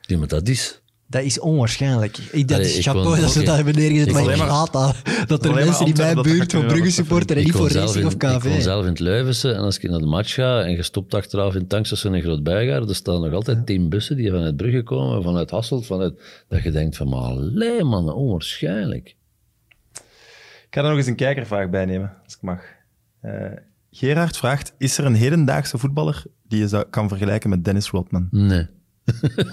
Ja, maar dat is.
Dat is onwaarschijnlijk. Ik, dat
Allee,
is
ik
chapeau
woon-
dat ze
oké.
dat hebben neergezet.
Ik
Maar ik
woon-
haat dat. Dat er
maar
mensen die
Antwerpen,
mijn
dat ga
buurt
ik
voor
nu wel
Brugge
wat
supporteren en
ik
niet voor
woon zelf
Racing
in,
of
Ik woon
KV.
zelf in het Leuvense en als ik naar de match ga en je stopt achteraf in het tankstation in Groot-Bijgaar, er staan nog altijd tien bussen die vanuit Brugge komen, vanuit Hasselt, vanuit... Dat je denkt van, maar allee man, onwaarschijnlijk.
Ik ga er nog eens een kijkervraag bij nemen, als ik mag. Eh, Gerard vraagt, is er een hedendaagse voetballer die je zou, kan vergelijken met Dennis Rodman?
Nee.
[laughs]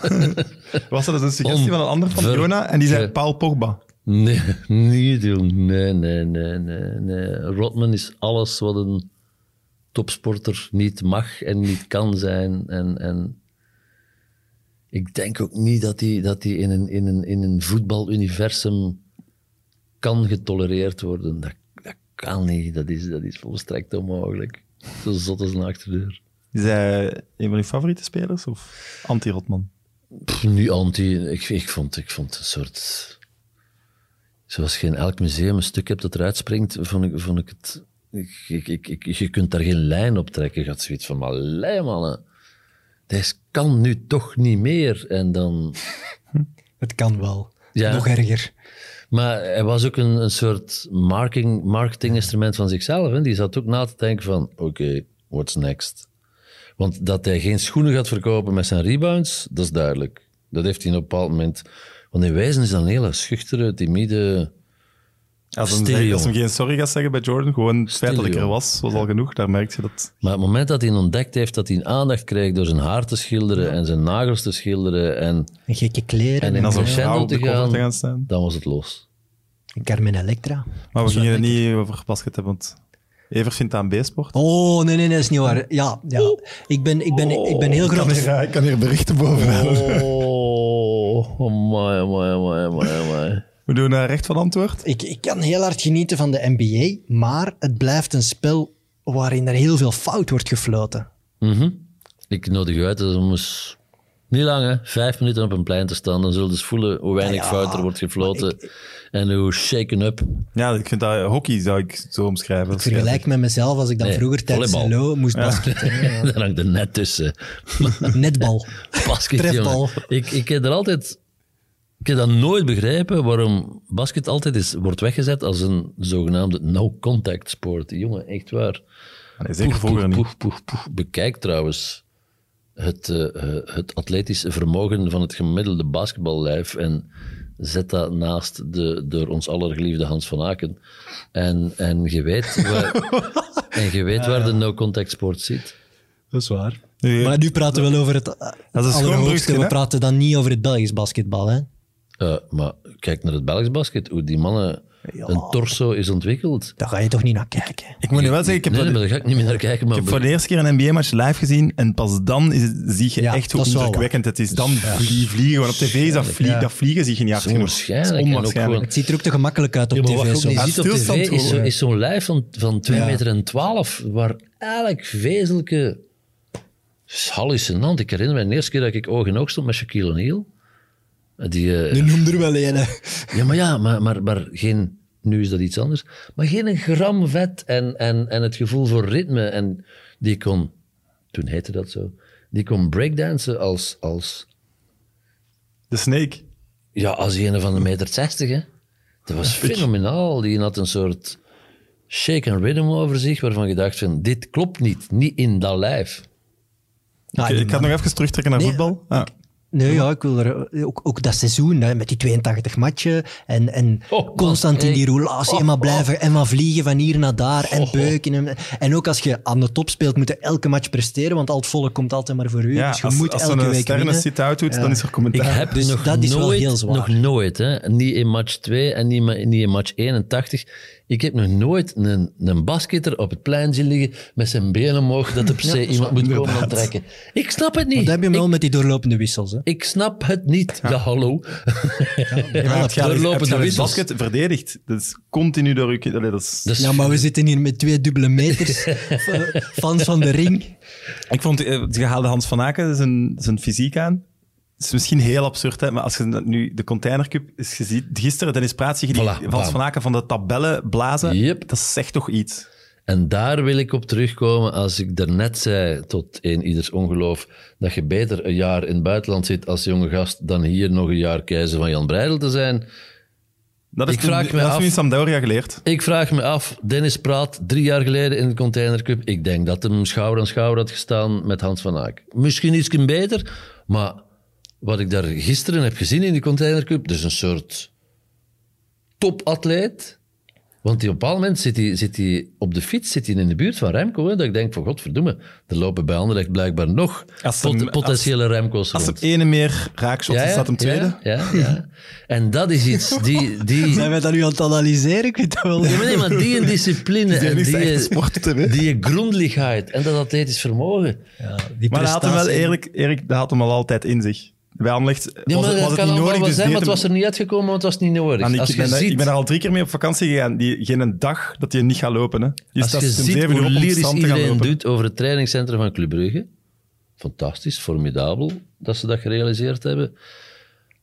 Was dat dus een suggestie van een ander van
Onver-
Jona? En die
Ge-
zei Paul Pogba.
Nee, [laughs] niet doen. Nee, nee, nee, nee, nee. Rodman is alles wat een topsporter niet mag en niet kan zijn. En, en ik denk ook niet dat hij dat die in, een, in, een, in een voetbaluniversum kan getolereerd worden. Dat, dat kan niet. Dat is, dat is volstrekt onmogelijk. Zo zot als een achterdeur.
Is hij eh, een van uw favoriete spelers of anti-Rotman?
Pff, nu anti. Ik, ik, vond, ik vond een soort. Zoals je in elk museum een stuk hebt dat eruit springt, vond ik, vond ik het. Ik, ik, ik, ik- je kunt daar geen lijn op trekken. Je had zoiets van: maar lijn, mannen. Deze kan nu toch niet meer. En dan.
Het kan wel.
Ja.
Nog erger.
Maar hij was ook een, een soort marketing, marketinginstrument van zichzelf. Hè? Die zat ook na te denken van, oké, what's next? Want dat hij geen schoenen gaat verkopen met zijn rebounds, dat is duidelijk. Dat heeft hij op een bepaald moment... Want in wijzen is dat een hele schuchtere, timide...
Als hem,
Stille
zegt- als hem
jongen.
geen sorry gaat zeggen bij Jordan, gewoon het feit dat ik er
jongen.
was, was al genoeg. Daar merk je dat.
Maar het moment dat hij ontdekt heeft dat hij een aandacht krijgt door zijn haar te schilderen en zijn nagels te schilderen en,
En gekke kleren.
en
En,
in
En als een
crescendo
vrouw op de
te
cover
gaan,
te gaan staan.
dan was het los.
Carmen Electra.
Maar we
Zo
gingen het
denk ik.
niet over basket hebben, want Ever vindt aan B-sport.
Oh, nee, nee, nee, dat is niet waar. Ja, ja. Ik, ben, ik, ben, ik ben heel groot...
ik kan hier berichten bovenaan.
[laughs] Oh, amai, amai, amai, amai, amai.
We doen eh, recht van antwoord.
Ik, ik kan heel hard genieten van de NBA, maar het blijft een spel waarin er heel veel fout wordt gefloten.
Mhm. Ik nodig u uit dat om eens niet lang, hè, vijf minuten op een plein te staan. Dan zullen ze eens voelen hoe weinig
Ah, Ja,
fout er wordt gefloten en hoe shaken up.
Ja, ik vind dat eh, hockey zou ik zo omschrijven.
Ik vergelijk met mezelf als ik dan
Nee,
vroeger tijdens
volleybal.
LO moest basketten.
[laughs]
Ja.
Daar hangt er net tussen.
Netbal.
Basket,
Trefbal.
jongen. Ik, ik heb er altijd... Ik heb dat nooit begrepen waarom basket altijd is, wordt weggezet als een zogenaamde no-contact sport. Jongen, echt waar.
Nee, zeker
Poef,
vroeger
poef,
niet.
poef, poef, poef. Bekijk trouwens het, eh, eh, het atletische vermogen van het gemiddelde basketballijf en zet dat naast de door ons allergeliefde Hans van Aken. En, en je weet
[laughs]
waar, en je weet waar de no-contact sport zit.
Dat is waar.
Nu-
Maar nu praten we wel over het eh,
Dat is een schoon
allerhoogste.
brugje,
We
hè?
praten dan niet over het Belgisch basketbal. Hè?
Eh, maar kijk naar het Belgisch basket, hoe die mannen
Ja.
een torso is ontwikkeld.
Daar ga je toch niet naar kijken.
Ik moet nu wel zeggen, ik heb,
Nee,
voor,
nee,
de,
maar daar ga ik niet meer naar kijken. Maar
ik heb voor de eerste keer een NBA-match live gezien en pas dan is, zie je
Ja,
echt hoe
dat is wel
indrukwekkend het is. Dan vlie- vliegen, want op tv is dat, vlie-
Ja.
dat vliegen zie je niet hard genoeg.
onwaarschijnlijk
Het is
en ook
onwaarschijnlijk.
Het ziet er ook te gemakkelijk uit op
Ja, maar
tv.
wat je ook
soms.
niet
soms.
ziet op
Ja, stilstand
tv is, zo,
horen.
is zo'n lijf van, van 2
Ja.
meter en 12, waar elk wezenlijke... Hallucinant. Ik herinner me de eerste keer dat ik oog in oog stond met Shaquille O'Neal. Die, eh,
Nu noem er wel een. hè.
ja, maar ja, maar, maar, maar geen... Nu is dat iets anders. Maar geen een gram vet en, en, en het gevoel voor ritme. En die kon... Toen heette dat zo. Die kon breakdansen als... als
De Snake.
ja, als een van de meter 60, hè. Dat was fenomenaal. Die had een soort shake and rhythm over zich, waarvan je dacht van, dit klopt niet. Niet in dat lijf.
Ah,
Ik-
die
ik ga nog even terugtrekken naar
Nee,
voetbal. Ah.
Nee, ja, ik wil er ook, ook dat seizoen hè, met die 82 matchen en, en
Oh, man,
constant in
hey.
die roulatie
Oh,
en maar blijven en maar vliegen van hier naar daar en beuken. En, en ook als je aan de top speelt, moet je elke match presteren, want al het volk komt altijd maar voor u.
Ja,
dus je
als,
moet
als
elke
een
week
sterren
winnen.
sit-out doet,
Ja.
dan is er
Ik
commentaar.
heb
Dus
nog
dat is wel
nooit,
heel zwaar.
nog nooit, hè, niet in match 2 en niet, ma- niet in match 81. Ik heb nog nooit een, een basketter op het plein zien liggen met zijn benen omhoog dat er per se iemand moet komen onttrekken. Ik snap het
Want
niet.
dat heb je hem wel met die doorlopende wissels. Hè.
Ik snap het niet. Ja, hallo.
Ja, maar heb je al eens- heb je
Doorlopende
al eens
wissels.
basket verdedigd. Dat is continu door je... Allee, dat is...
Dus
Ja, maar we zitten hier met twee dubbele
[laughs]
meters, eh, fans van de ring.
Ik vond, eh, je haalde Hans van Aken zijn, zijn fysiek aan. Het is misschien heel absurd, hè, maar als je nu de Container Cup is gezien, gisteren, Dennis Praat, zie je die
Voilà,
Hans
bam.
van Aken van de tabellen blazen.
Yep.
Dat zegt toch iets.
En daar wil ik op terugkomen als ik daarnet zei, tot in ieders ongeloof, dat je beter een jaar in het buitenland zit als jonge gast dan hier nog een jaar keizer van Jan Breidel te zijn.
Dat is
Ik vraag
dat
me
is
af-
nu in Sampdoria geleerd.
Ik vraag me af, Dennis Praat, drie jaar geleden in de Container Cup, ik denk dat hem schouder aan schouder had gestaan met Hans van Aak. Misschien iets beter, maar wat ik daar gisteren heb gezien in de Container Cup, dus een soort topatleet. Want die op een bepaald moment zit hij, zit hij op de fiets zit hij in de buurt van Remco. Hè, dat ik denk van godverdomme, er lopen bij Anderlecht blijkbaar nog
Als ze
pot-
hem-
potentiële Remco's
Als
rond.
er ene meer raakshot is, staat hem tweede.
Ja, ja, ja. En dat is iets
[laughs]
die... die
Zijn wij dat nu aan het analyseren? Ik weet dat wel.
ja, maar nee, maar die een discipline en
enige
die,
echte sporter, hè?
die grondligheid en dat atletisch vermogen.
die
Maar dat had hem wel,
prestatie.
eerlijk, Erik, dat had hem al altijd in zich. Bij Anderlecht
Nee,
was,
maar
het- was
dat
het
kan
niet
allemaal
nodig.
wel
Dus
zijn,
die
maar het
heeft
was
hem-
er niet uitgekomen, want het was niet nodig.
en ik,
Als
ben,
je
daar- ik
ziet,
ben daar al drie keer mee op vakantie gegaan. Die, geen dag dat hij niet gaat lopen. Hè. Die
als
staat
je
om
ziet
zeven uur
hoe
op om het
lyrisch
strand te gaan
iedereen
lopen.
doet over het trainingscentrum van Club Brugge, fantastisch, formidabel dat ze dat gerealiseerd hebben.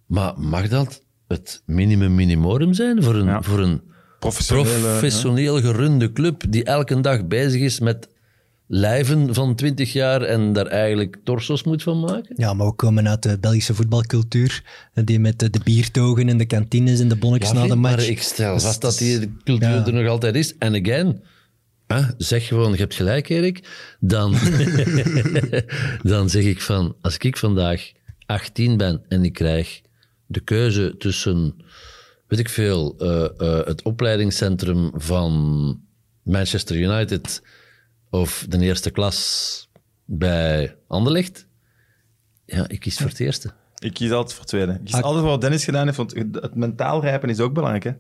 Maar mag dat het minimum minimorum zijn voor een,
Ja.
voor een
Professionele-
professioneel eh, gerunde club die elke dag bezig is met lijven van 20 jaar en daar eigenlijk torsos moet van maken?
Ja, maar we komen uit de Belgische voetbalcultuur. eh, Die met de, de biertogen en de kantines en de bonnetjes na de
Vriend,
match.
Maar ik stel
Dat is-
vast dat
dat is-
die cultuur
ja.
er nog altijd is. En again, hè, zeg gewoon, je hebt gelijk Erik.
[laughs]
Dan, dan zeg ik van, als ik vandaag 18 ben en ik krijg de keuze tussen, weet ik veel, eh, eh, het opleidingscentrum van Manchester United of de eerste klas bij Anderlecht. Ja, ik kies voor het eerste.
Ik kies altijd voor het tweede.
Ah.
Ik kies altijd wat Dennis gedaan heeft, want het mentaal rijpen is ook belangrijk. Hè?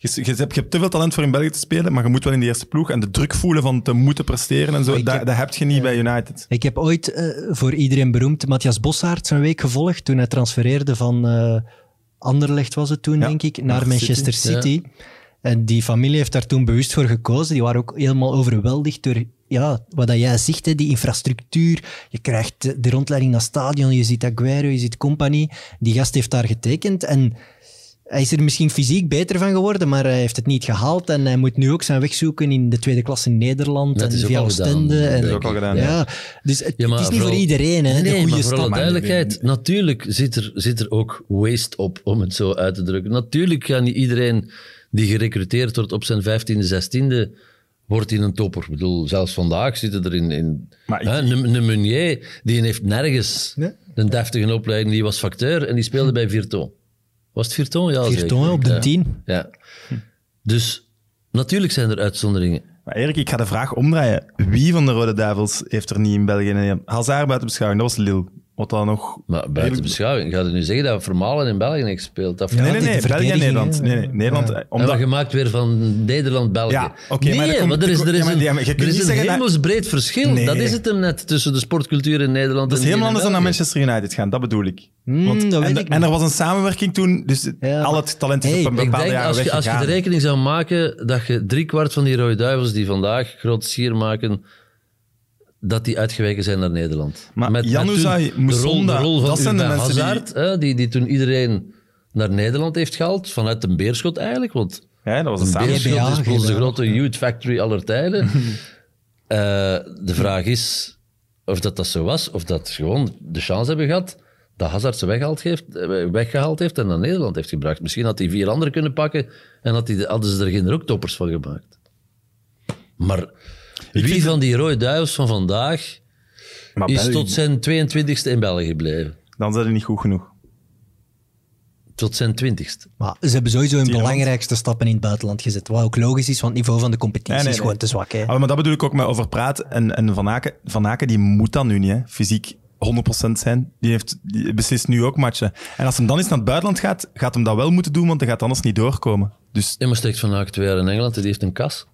Je, je hebt, je hebt te veel talent voor in België te spelen, maar je moet wel in de eerste ploeg. En de druk voelen van te moeten presteren
Ah,
en zo,
ik
dat,
heb-
dat heb je niet bij United.
Ik heb ooit eh, voor iedereen beroemd Matthias Bossaert zijn week gevolgd toen hij transfereerde van eh, Anderlecht was het toen,
Ja,
denk ik, naar
naar
Manchester
City, ja.
City. En die familie heeft daar toen bewust voor gekozen. Die waren ook helemaal overweldigd door ja, wat dat jij zegt, hè, die infrastructuur. Je krijgt eh, de rondleiding naar het stadion, je ziet Aguero, je ziet Company. Die gast heeft daar getekend en... Hij is er misschien fysiek beter van geworden, maar hij heeft het niet gehaald. En hij moet nu ook zijn weg zoeken in de tweede klasse in Nederland.
Dat
en
is ook
via
al gedaan,
Oostende.
denk
En,
ik. Dat is ook al gedaan,
ja.
ja.
Dus het,
Ja, maar
het is niet voor
vooral-
iedereen, hè,
nee,
de
maar
goede
voor alle
stap.
duidelijkheid, natuurlijk zit er, zit er ook waste op, om het zo uit te drukken. Natuurlijk gaat niet iedereen die gerecruiteerd wordt op zijn 15e, 16e, wordt in een topper. Ik bedoel, zelfs vandaag zitten er in... in
Maar ik-
hè, een, een Meunier, die heeft nergens
Nee.
een deftige opleiding. Die was facteur en die speelde bij Virton. Was het Virton? Ja,
Virton,
zeker.
op de
Ja.
tien.
Ja. Dus natuurlijk zijn er uitzonderingen.
Maar Erik, ik ga de vraag omdraaien. Wie van de Rode Duivels heeft er niet in België? een- Hazard buiten beschouwing, dat was Lille. Wat dan nog...
Maar buiten beschouwing, gaat u nu zeggen dat Vermalen in België niks speelt? Dat
Nee, nee,
die
nee. België en
verdediging,
Nederland.
hè.
Nee, nee, Nederland. eh,
Omdat...
Omdat,
gemaakt weer van Nederland-België.
Ja, oké, maar
nee,
dat komt-
maar er is, er
ja,
is
maar-
een,
ja, maar je kunt
er is
niet
een
zeggen dat-
hemelsbreed verschil.
Nee.
Dat is het hem net, tussen de sportcultuur in Nederland
dat is
en die
helemaal anders dan naar
in België.
Manchester United gaan, dat bedoel ik.
Hmm, dat weet
en,
ik niet.
en er was een samenwerking toen, dus
Ja,
al
maar-
het talent is
Hey,
op een
ik
bepaalde
Ik denk,
jaren
als je, als je de
weggegaan.
rekening zou maken dat je driekwart van die rode duivels die vandaag groot sier maken, dat die uitgeweken zijn naar Nederland.
Maar
toen
Januzaj,
de rol, de
Musonda,
rol van
dat zijn de
Urbain
mensen die-
Hazard, hè, die... Die, toen iedereen naar Nederland heeft gehaald, vanuit een beerschot eigenlijk, want...
Ja, dat was een
Een
samenwerking.
beerschot
GBA,
is plots de
GBA.
grote youth factory aller tijden. Eh, de vraag is of dat dat zo was, of dat ze gewoon de chance hebben gehad dat Hazard ze weggehaald heeft, eh, weggehaald heeft en naar Nederland heeft gebracht. Misschien had hij vier anderen kunnen pakken en had hij, hadden ze er geen rooktoppers van gemaakt. Maar wie van die rode duivels van vandaag
Maar
is
België-
tot zijn 22e in België gebleven?
Dan zijn ze niet goed genoeg.
Tot zijn 20ste.
Maar ze hebben sowieso hun
Tienerland.
belangrijkste stappen in het buitenland gezet. Wat ook logisch is, want het niveau van de competitie
Nee, nee,
is gewoon
nee.
te zwak. Hè.
Ah, maar dat bedoel ik ook met over praat. En, en Van Aken, Van Aken, die moet dan nu niet, hè. fysiek 100% zijn. Die, heeft, die beslist nu ook matchen. En als hem dan eens naar het buitenland gaat, gaat hem dat wel moeten doen, want hij gaat anders niet doorkomen. Dus
Immer steekt van Aken twee jaar in Engeland en die heeft een kas.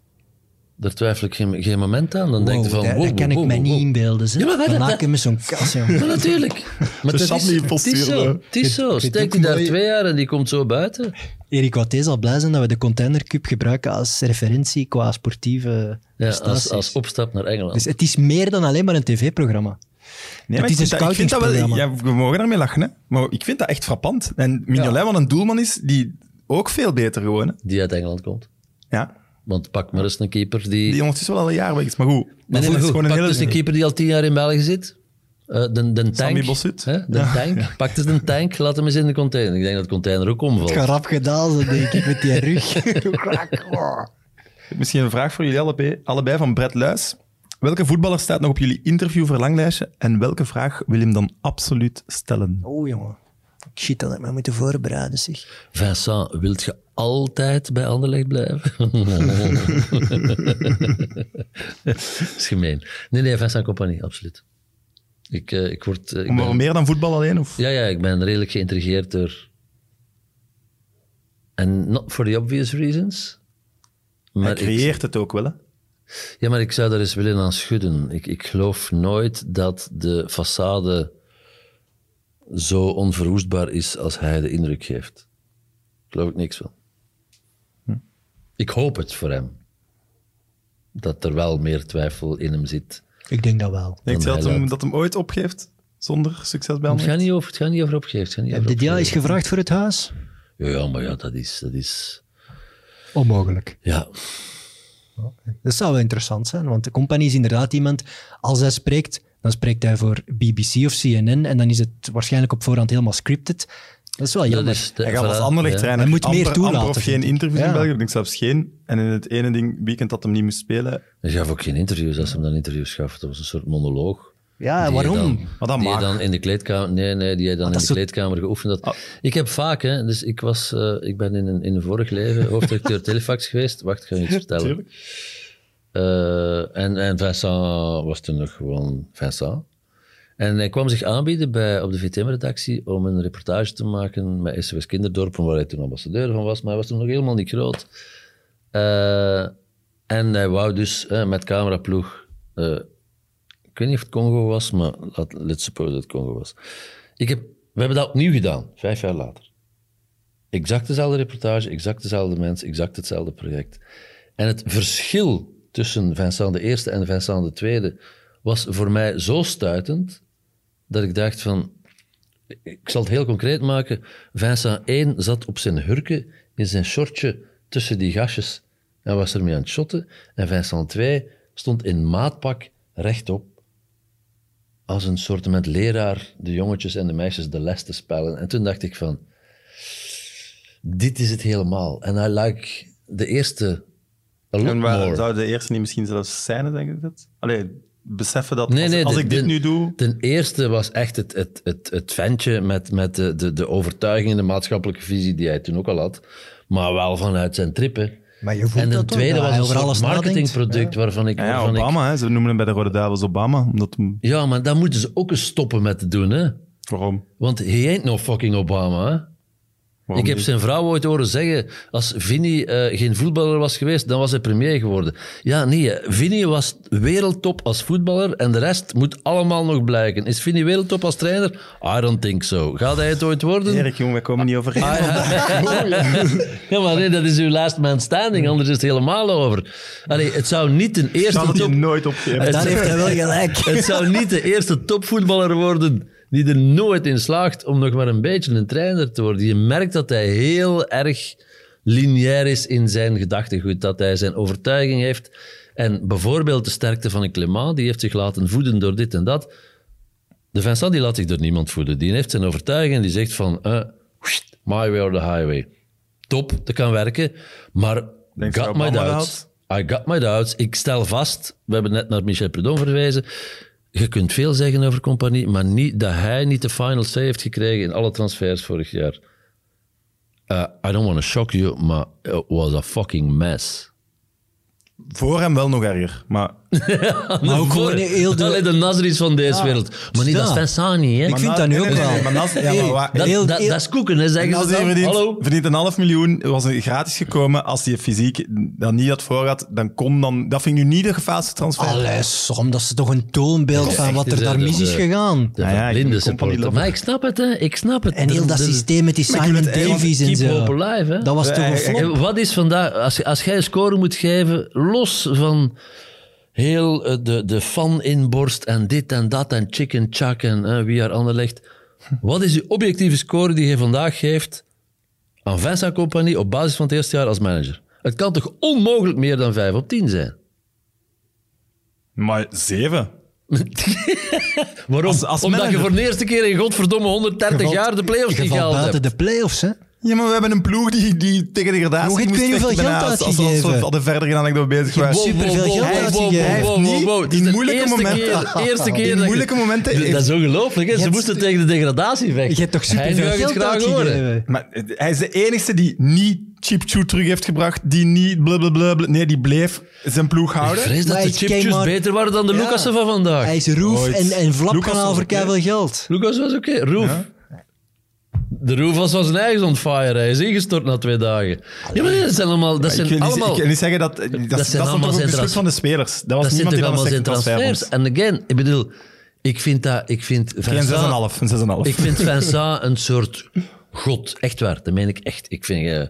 Daar twijfel ik geen, geen moment aan. Dan denk je
Wow,
van...
dat,
wow,
dat kan ik
wow,
mij
wow,
niet
wow.
inbeelden. Ze.
Ja, maar wat-
Dan
dat-
maken we zo'n kas,
[laughs]
jongen.
Maar natuurlijk. Maar dat
Sam
is,
die
het is
posturen.
zo. Het is zo.
vind
Steekt
ook
hij daar
mooi-
twee jaar en die komt zo buiten.
Erik Watté zal blij zijn dat we de Container Cup gebruiken als referentie qua sportieve
Ja,
prestaties.
als, als opstap naar Engeland.
Dus het is meer dan alleen maar een tv-programma.
nee, maar
Het
ik vind
is een
dat- ik vind dat wel-
scoutingsprogramma.
ja, we mogen daarmee lachen, hè. maar ik vind dat echt frappant. En Mignolet, wat een doelman is, die ook veel beter gewoon. hè.
Die uit Engeland komt.
Ja,
Want pak maar eens een keeper die...
die ondertussen wel al een jaar weg is. Maar goed,
Nee,
dat
nee,
is
maar goed,
gewoon een
pak
hele...
dus een keeper die al tien jaar in België zit. Eh, de, de tank.
Sammy Bossut.
Hè? De tank. Pak dus een tank, laat hem eens in de container. Ik denk dat de container ook omvalt.
Het gaat rap gedaan, zo denk ik, met die
[laughs]
rug. oh.
Misschien een vraag voor jullie allebei, allebei van Brett Luis. Welke voetballer staat nog op jullie interviewverlanglijstje en welke vraag wil je hem dan absoluut stellen?
Oh, jongen. Shit, dat had ik me moeten voorbereiden, zeg.
Vincent, wilt je altijd bij Anderlecht blijven? [laughs] is gemeen. Nee, nee, Vincent Compagnie, absoluut. Ik, eh, ik word... eh, ik
Om
ben-
waarom meer dan voetbal alleen? Of?
Ja, ja, ik ben redelijk geïntrigeerd door... En not for the obvious reasons. Maar
Hij
ik-
creëert het ook wel, hè?
ja, maar ik zou daar eens willen aan schudden. Ik, ik geloof nooit dat de façade zo onverwoestbaar is als hij de indruk geeft. Geloof ik niks van. Ik hoop het voor hem. Dat er wel meer twijfel in hem zit.
Ik denk dat wel.
Denkt je
hij
dat hem,
laat.
dat hem ooit opgeeft zonder succes bij
Het gaat
Anderlecht?
niet over, het gaat niet over opgeven. het gaat niet
Heb
over
dit jaar is
opgeven.
gevraagd voor het huis?
Ja, ja, maar ja, dat is, dat is...
Onmogelijk.
Ja,
Dat zou wel interessant zijn, want de compagnie is inderdaad iemand, als hij spreekt, dan spreekt hij voor BBC of CNN en dan is het waarschijnlijk op voorhand helemaal scripted. Dat is wel
dat
jammer.
is...
Hij gaat als
voilà,
Anderlecht
ja.
trainen.
Hij moet meer toelaten,
Amper of geen
vind ik.
interviews
Ja.
in België. Ik denk zelfs geen. En in het ene ding, weekend dat hem niet moest spelen.
Hij gaf ook geen interviews als ze hem dan interviews gaf. Dat was een soort monoloog.
Ja,
Die je
waarom?
Dan,
Maar dat
die je
mag.
dan in de kleedkamer... Nee, nee, die je dan
dat
in de
is zo- Ah.
kleedkamer geoefend had. Ik heb vaak, hè, dus ik, was, eh, ik ben in een, in een vorig leven
[laughs]
hoofdredacteur Telefax geweest. Wacht, ik ga je iets vertellen. Eh, en, en Vincent was toen nog gewoon Vincent. En hij kwam zich aanbieden bij, op de VTM-redactie om een reportage te maken met SOS Kinderdorpen, waar hij toen ambassadeur van was, maar hij was toen nog helemaal niet groot. Eh, en hij wou dus eh, met cameraploeg, eh, ik weet niet of het Congo was, maar laat, let's suppose dat het Congo was. Ik heb, we hebben dat opnieuw gedaan, vijf jaar later. Exact dezelfde reportage, exact dezelfde mensen, exact hetzelfde project. En het verschil tussen Vincent de Eerste en Vincent de Tweede was voor mij zo stuitend dat ik dacht van... Ik zal het heel concreet maken. Vincent 1 zat op zijn hurken in zijn shortje tussen die gastjes en was ermee aan het shotten. En Vincent 2 stond in maatpak rechtop als een soort met leraar de jongetjes en de meisjes de les te spellen. En toen dacht ik van, dit is het helemaal. En hij like de eerste a lot
En waar
more.
zou de eerste niet misschien zelfs zijn, denk ik dat? Allee, beseffen dat
Nee,
als,
nee,
als
de-
ik dit
de-
nu doe...
Ten eerste was echt het, het, het, het ventje met, met de, de, de overtuiging en de maatschappelijke visie die hij toen ook al had, maar wel vanuit zijn trippen.
Maar je voelt
En de
dat toch,
tweede
dat
was
hij
een
over
soort
alles nadenkt.
marketingproduct waarvan ik...
Ja, ja,
waarvan ik-
Obama, hè. ze noemen hem bij de Rode Duivels Obama. Omdat hem,
ja, maar daar moeten ze ook eens stoppen met te doen, hè.
waarom?
Want he ain't no fucking Obama, hè.
Waarom
ik heb
niet?
zijn vrouw ooit horen zeggen, als Vinny eh, geen voetballer was geweest, dan was hij premier geworden. Ja, nee, hè. Vinny was wereldtop als voetballer en de rest moet allemaal nog blijken. Is Vinny wereldtop als trainer? I don't think so. Gaat hij het ooit worden?
Erik, jong, wij komen niet [laughs] overeen.
[laughs] Ja, maar nee, dat is uw last man standing, anders is het helemaal over. Allee, het zou niet een
Ik zal
eerste
het je
top...
nooit opgeven.
Daar heeft hij wel
[laughs]
gelijk.
Het zou niet de eerste topvoetballer worden die er nooit in slaagt om nog maar een beetje een trainer te worden. Je merkt dat hij heel erg lineair is in zijn gedachtegoed, dat hij zijn overtuiging heeft. En bijvoorbeeld de sterkte van een Clément, die heeft zich laten voeden door dit en dat. De Vincent die laat zich door niemand voeden. Die heeft zijn overtuiging en die zegt van... eh, wst, my way or the highway. Top, dat kan werken. Maar
Denk je
got my
Obama dat
doubts. I got my doubts. Ik stel vast, we hebben net naar Michel Predon verwezen... Je kunt veel zeggen over Compagnie, maar niet dat hij niet de final say heeft gekregen in alle transfers vorig jaar. Eh, I don't want to shock you, maar it was a fucking mess.
Voor hem wel nog erger. Maar
Maar ook gewoon heel de-
[laughs] Allee, de Nazris van deze wereld. Maar niet
Ja.
dat Vincent niet, hè.
Ik vind
na-
dat nu
nee,
ook
nee, nee,
wel.
nee, maar nas- ja, maar
Hey,
waar-
Dat,
heel-
dat,
heel-
dat is koeken, hè, zeggen ze
Als hij
dan.
verdient,
Hallo.
verdient een half miljoen, was een gratis gekomen. Als hij fysiek dan niet had voorraad, dan kom dan... Dat vind ik nu niet de gevaarste transfer.
Allee, som, dat is toch een toonbeeld van wat er
is,
daar
hè,
mis
dus,
is
eh,
gegaan.
De
Ja, ja, ik
blinde
ben compagnie
supporter.
lover.
Maar ik snap het, hè. Ik snap het.
En heel
Er-
dat
er-
systeem met die Simon
het eigenlijk
Davies en
keep
zo.
hope alive, hè.
Dat was toch een
Eh,
flop.
En wat is vandaag, als, als jij een score moet geven, los van heel eh, de, de fan-inborst en dit en dat en chicken chuck en eh, wie er
[laughs]
ander legt. Wat is je objectieve score die je vandaag geeft aan Vincent Compagnie op basis van het eerste jaar als manager? Het kan toch onmogelijk meer dan 5 op 10 zijn?
Maar zeven?
Waarom?
Als- als
Omdat
manager.
je voor de eerste keer in godverdomme 130
Je valt-
jaar de play-offs
Je
niet
valt
gehaald hebt.
buiten de play-offs, hè?
Ja, maar we hebben een ploeg die, die tegen de gradatie
Nog, ik
moest
weet niet
vechten
hoeveel
bijna,
geld
als- als- Als we
uitgegeven.
hadden verder gaan dan ik dat we bezig was.
Wow, superveel geld uitgegeven.
Hij
Hij heeft niet in moeilijke momenten-
eerste keer
in
dat je-
moeilijke momenten
Dat-
heeft-
Dat is ongelooflijk. hè. Ze
hebt-
moesten tegen de degradatie vechten.
Je hebt toch
Hij
superveel
wil het
geld
graag horen.
uitgegeven?
Maar eh, hij is de enige die niet Chip Choo terug heeft gebracht, die niet blablabla... Nee, die bleef zijn ploeg
Ik
houden.
vrees dat
Maar
de
hij came
chipjes
out-
beter waren dan de
Ja.
Lucassen van vandaag.
Hij is Roef
Ooit.
en, en Vlap
Lucas
gaan
was
over
oké.
keiveel geld.
Lucas was oké. Roef. De Roef was van zijn eigen on fire. Hij is ingestort na twee dagen. Ja, maar dat zijn allemaal... Dat
Ik wil,
zijn
niet, ik
allemaal...
wil niet zeggen dat... eh, Dat, dat,
allemaal
dat is dan toch ook een
zijn
besluit
trans-
van de spelers. Dat was
Dat zijn
niemand
toch
die dan
allemaal
een
zijn
slechte transfer
transfers.
vond.
En again, ik bedoel... Ik vind dat... Ik vind
Geen 6,5.
Vincent-
Een 6,5.
Ik vind Vincent een soort god. Echt waar, dat meen ik echt. Ik vind eh,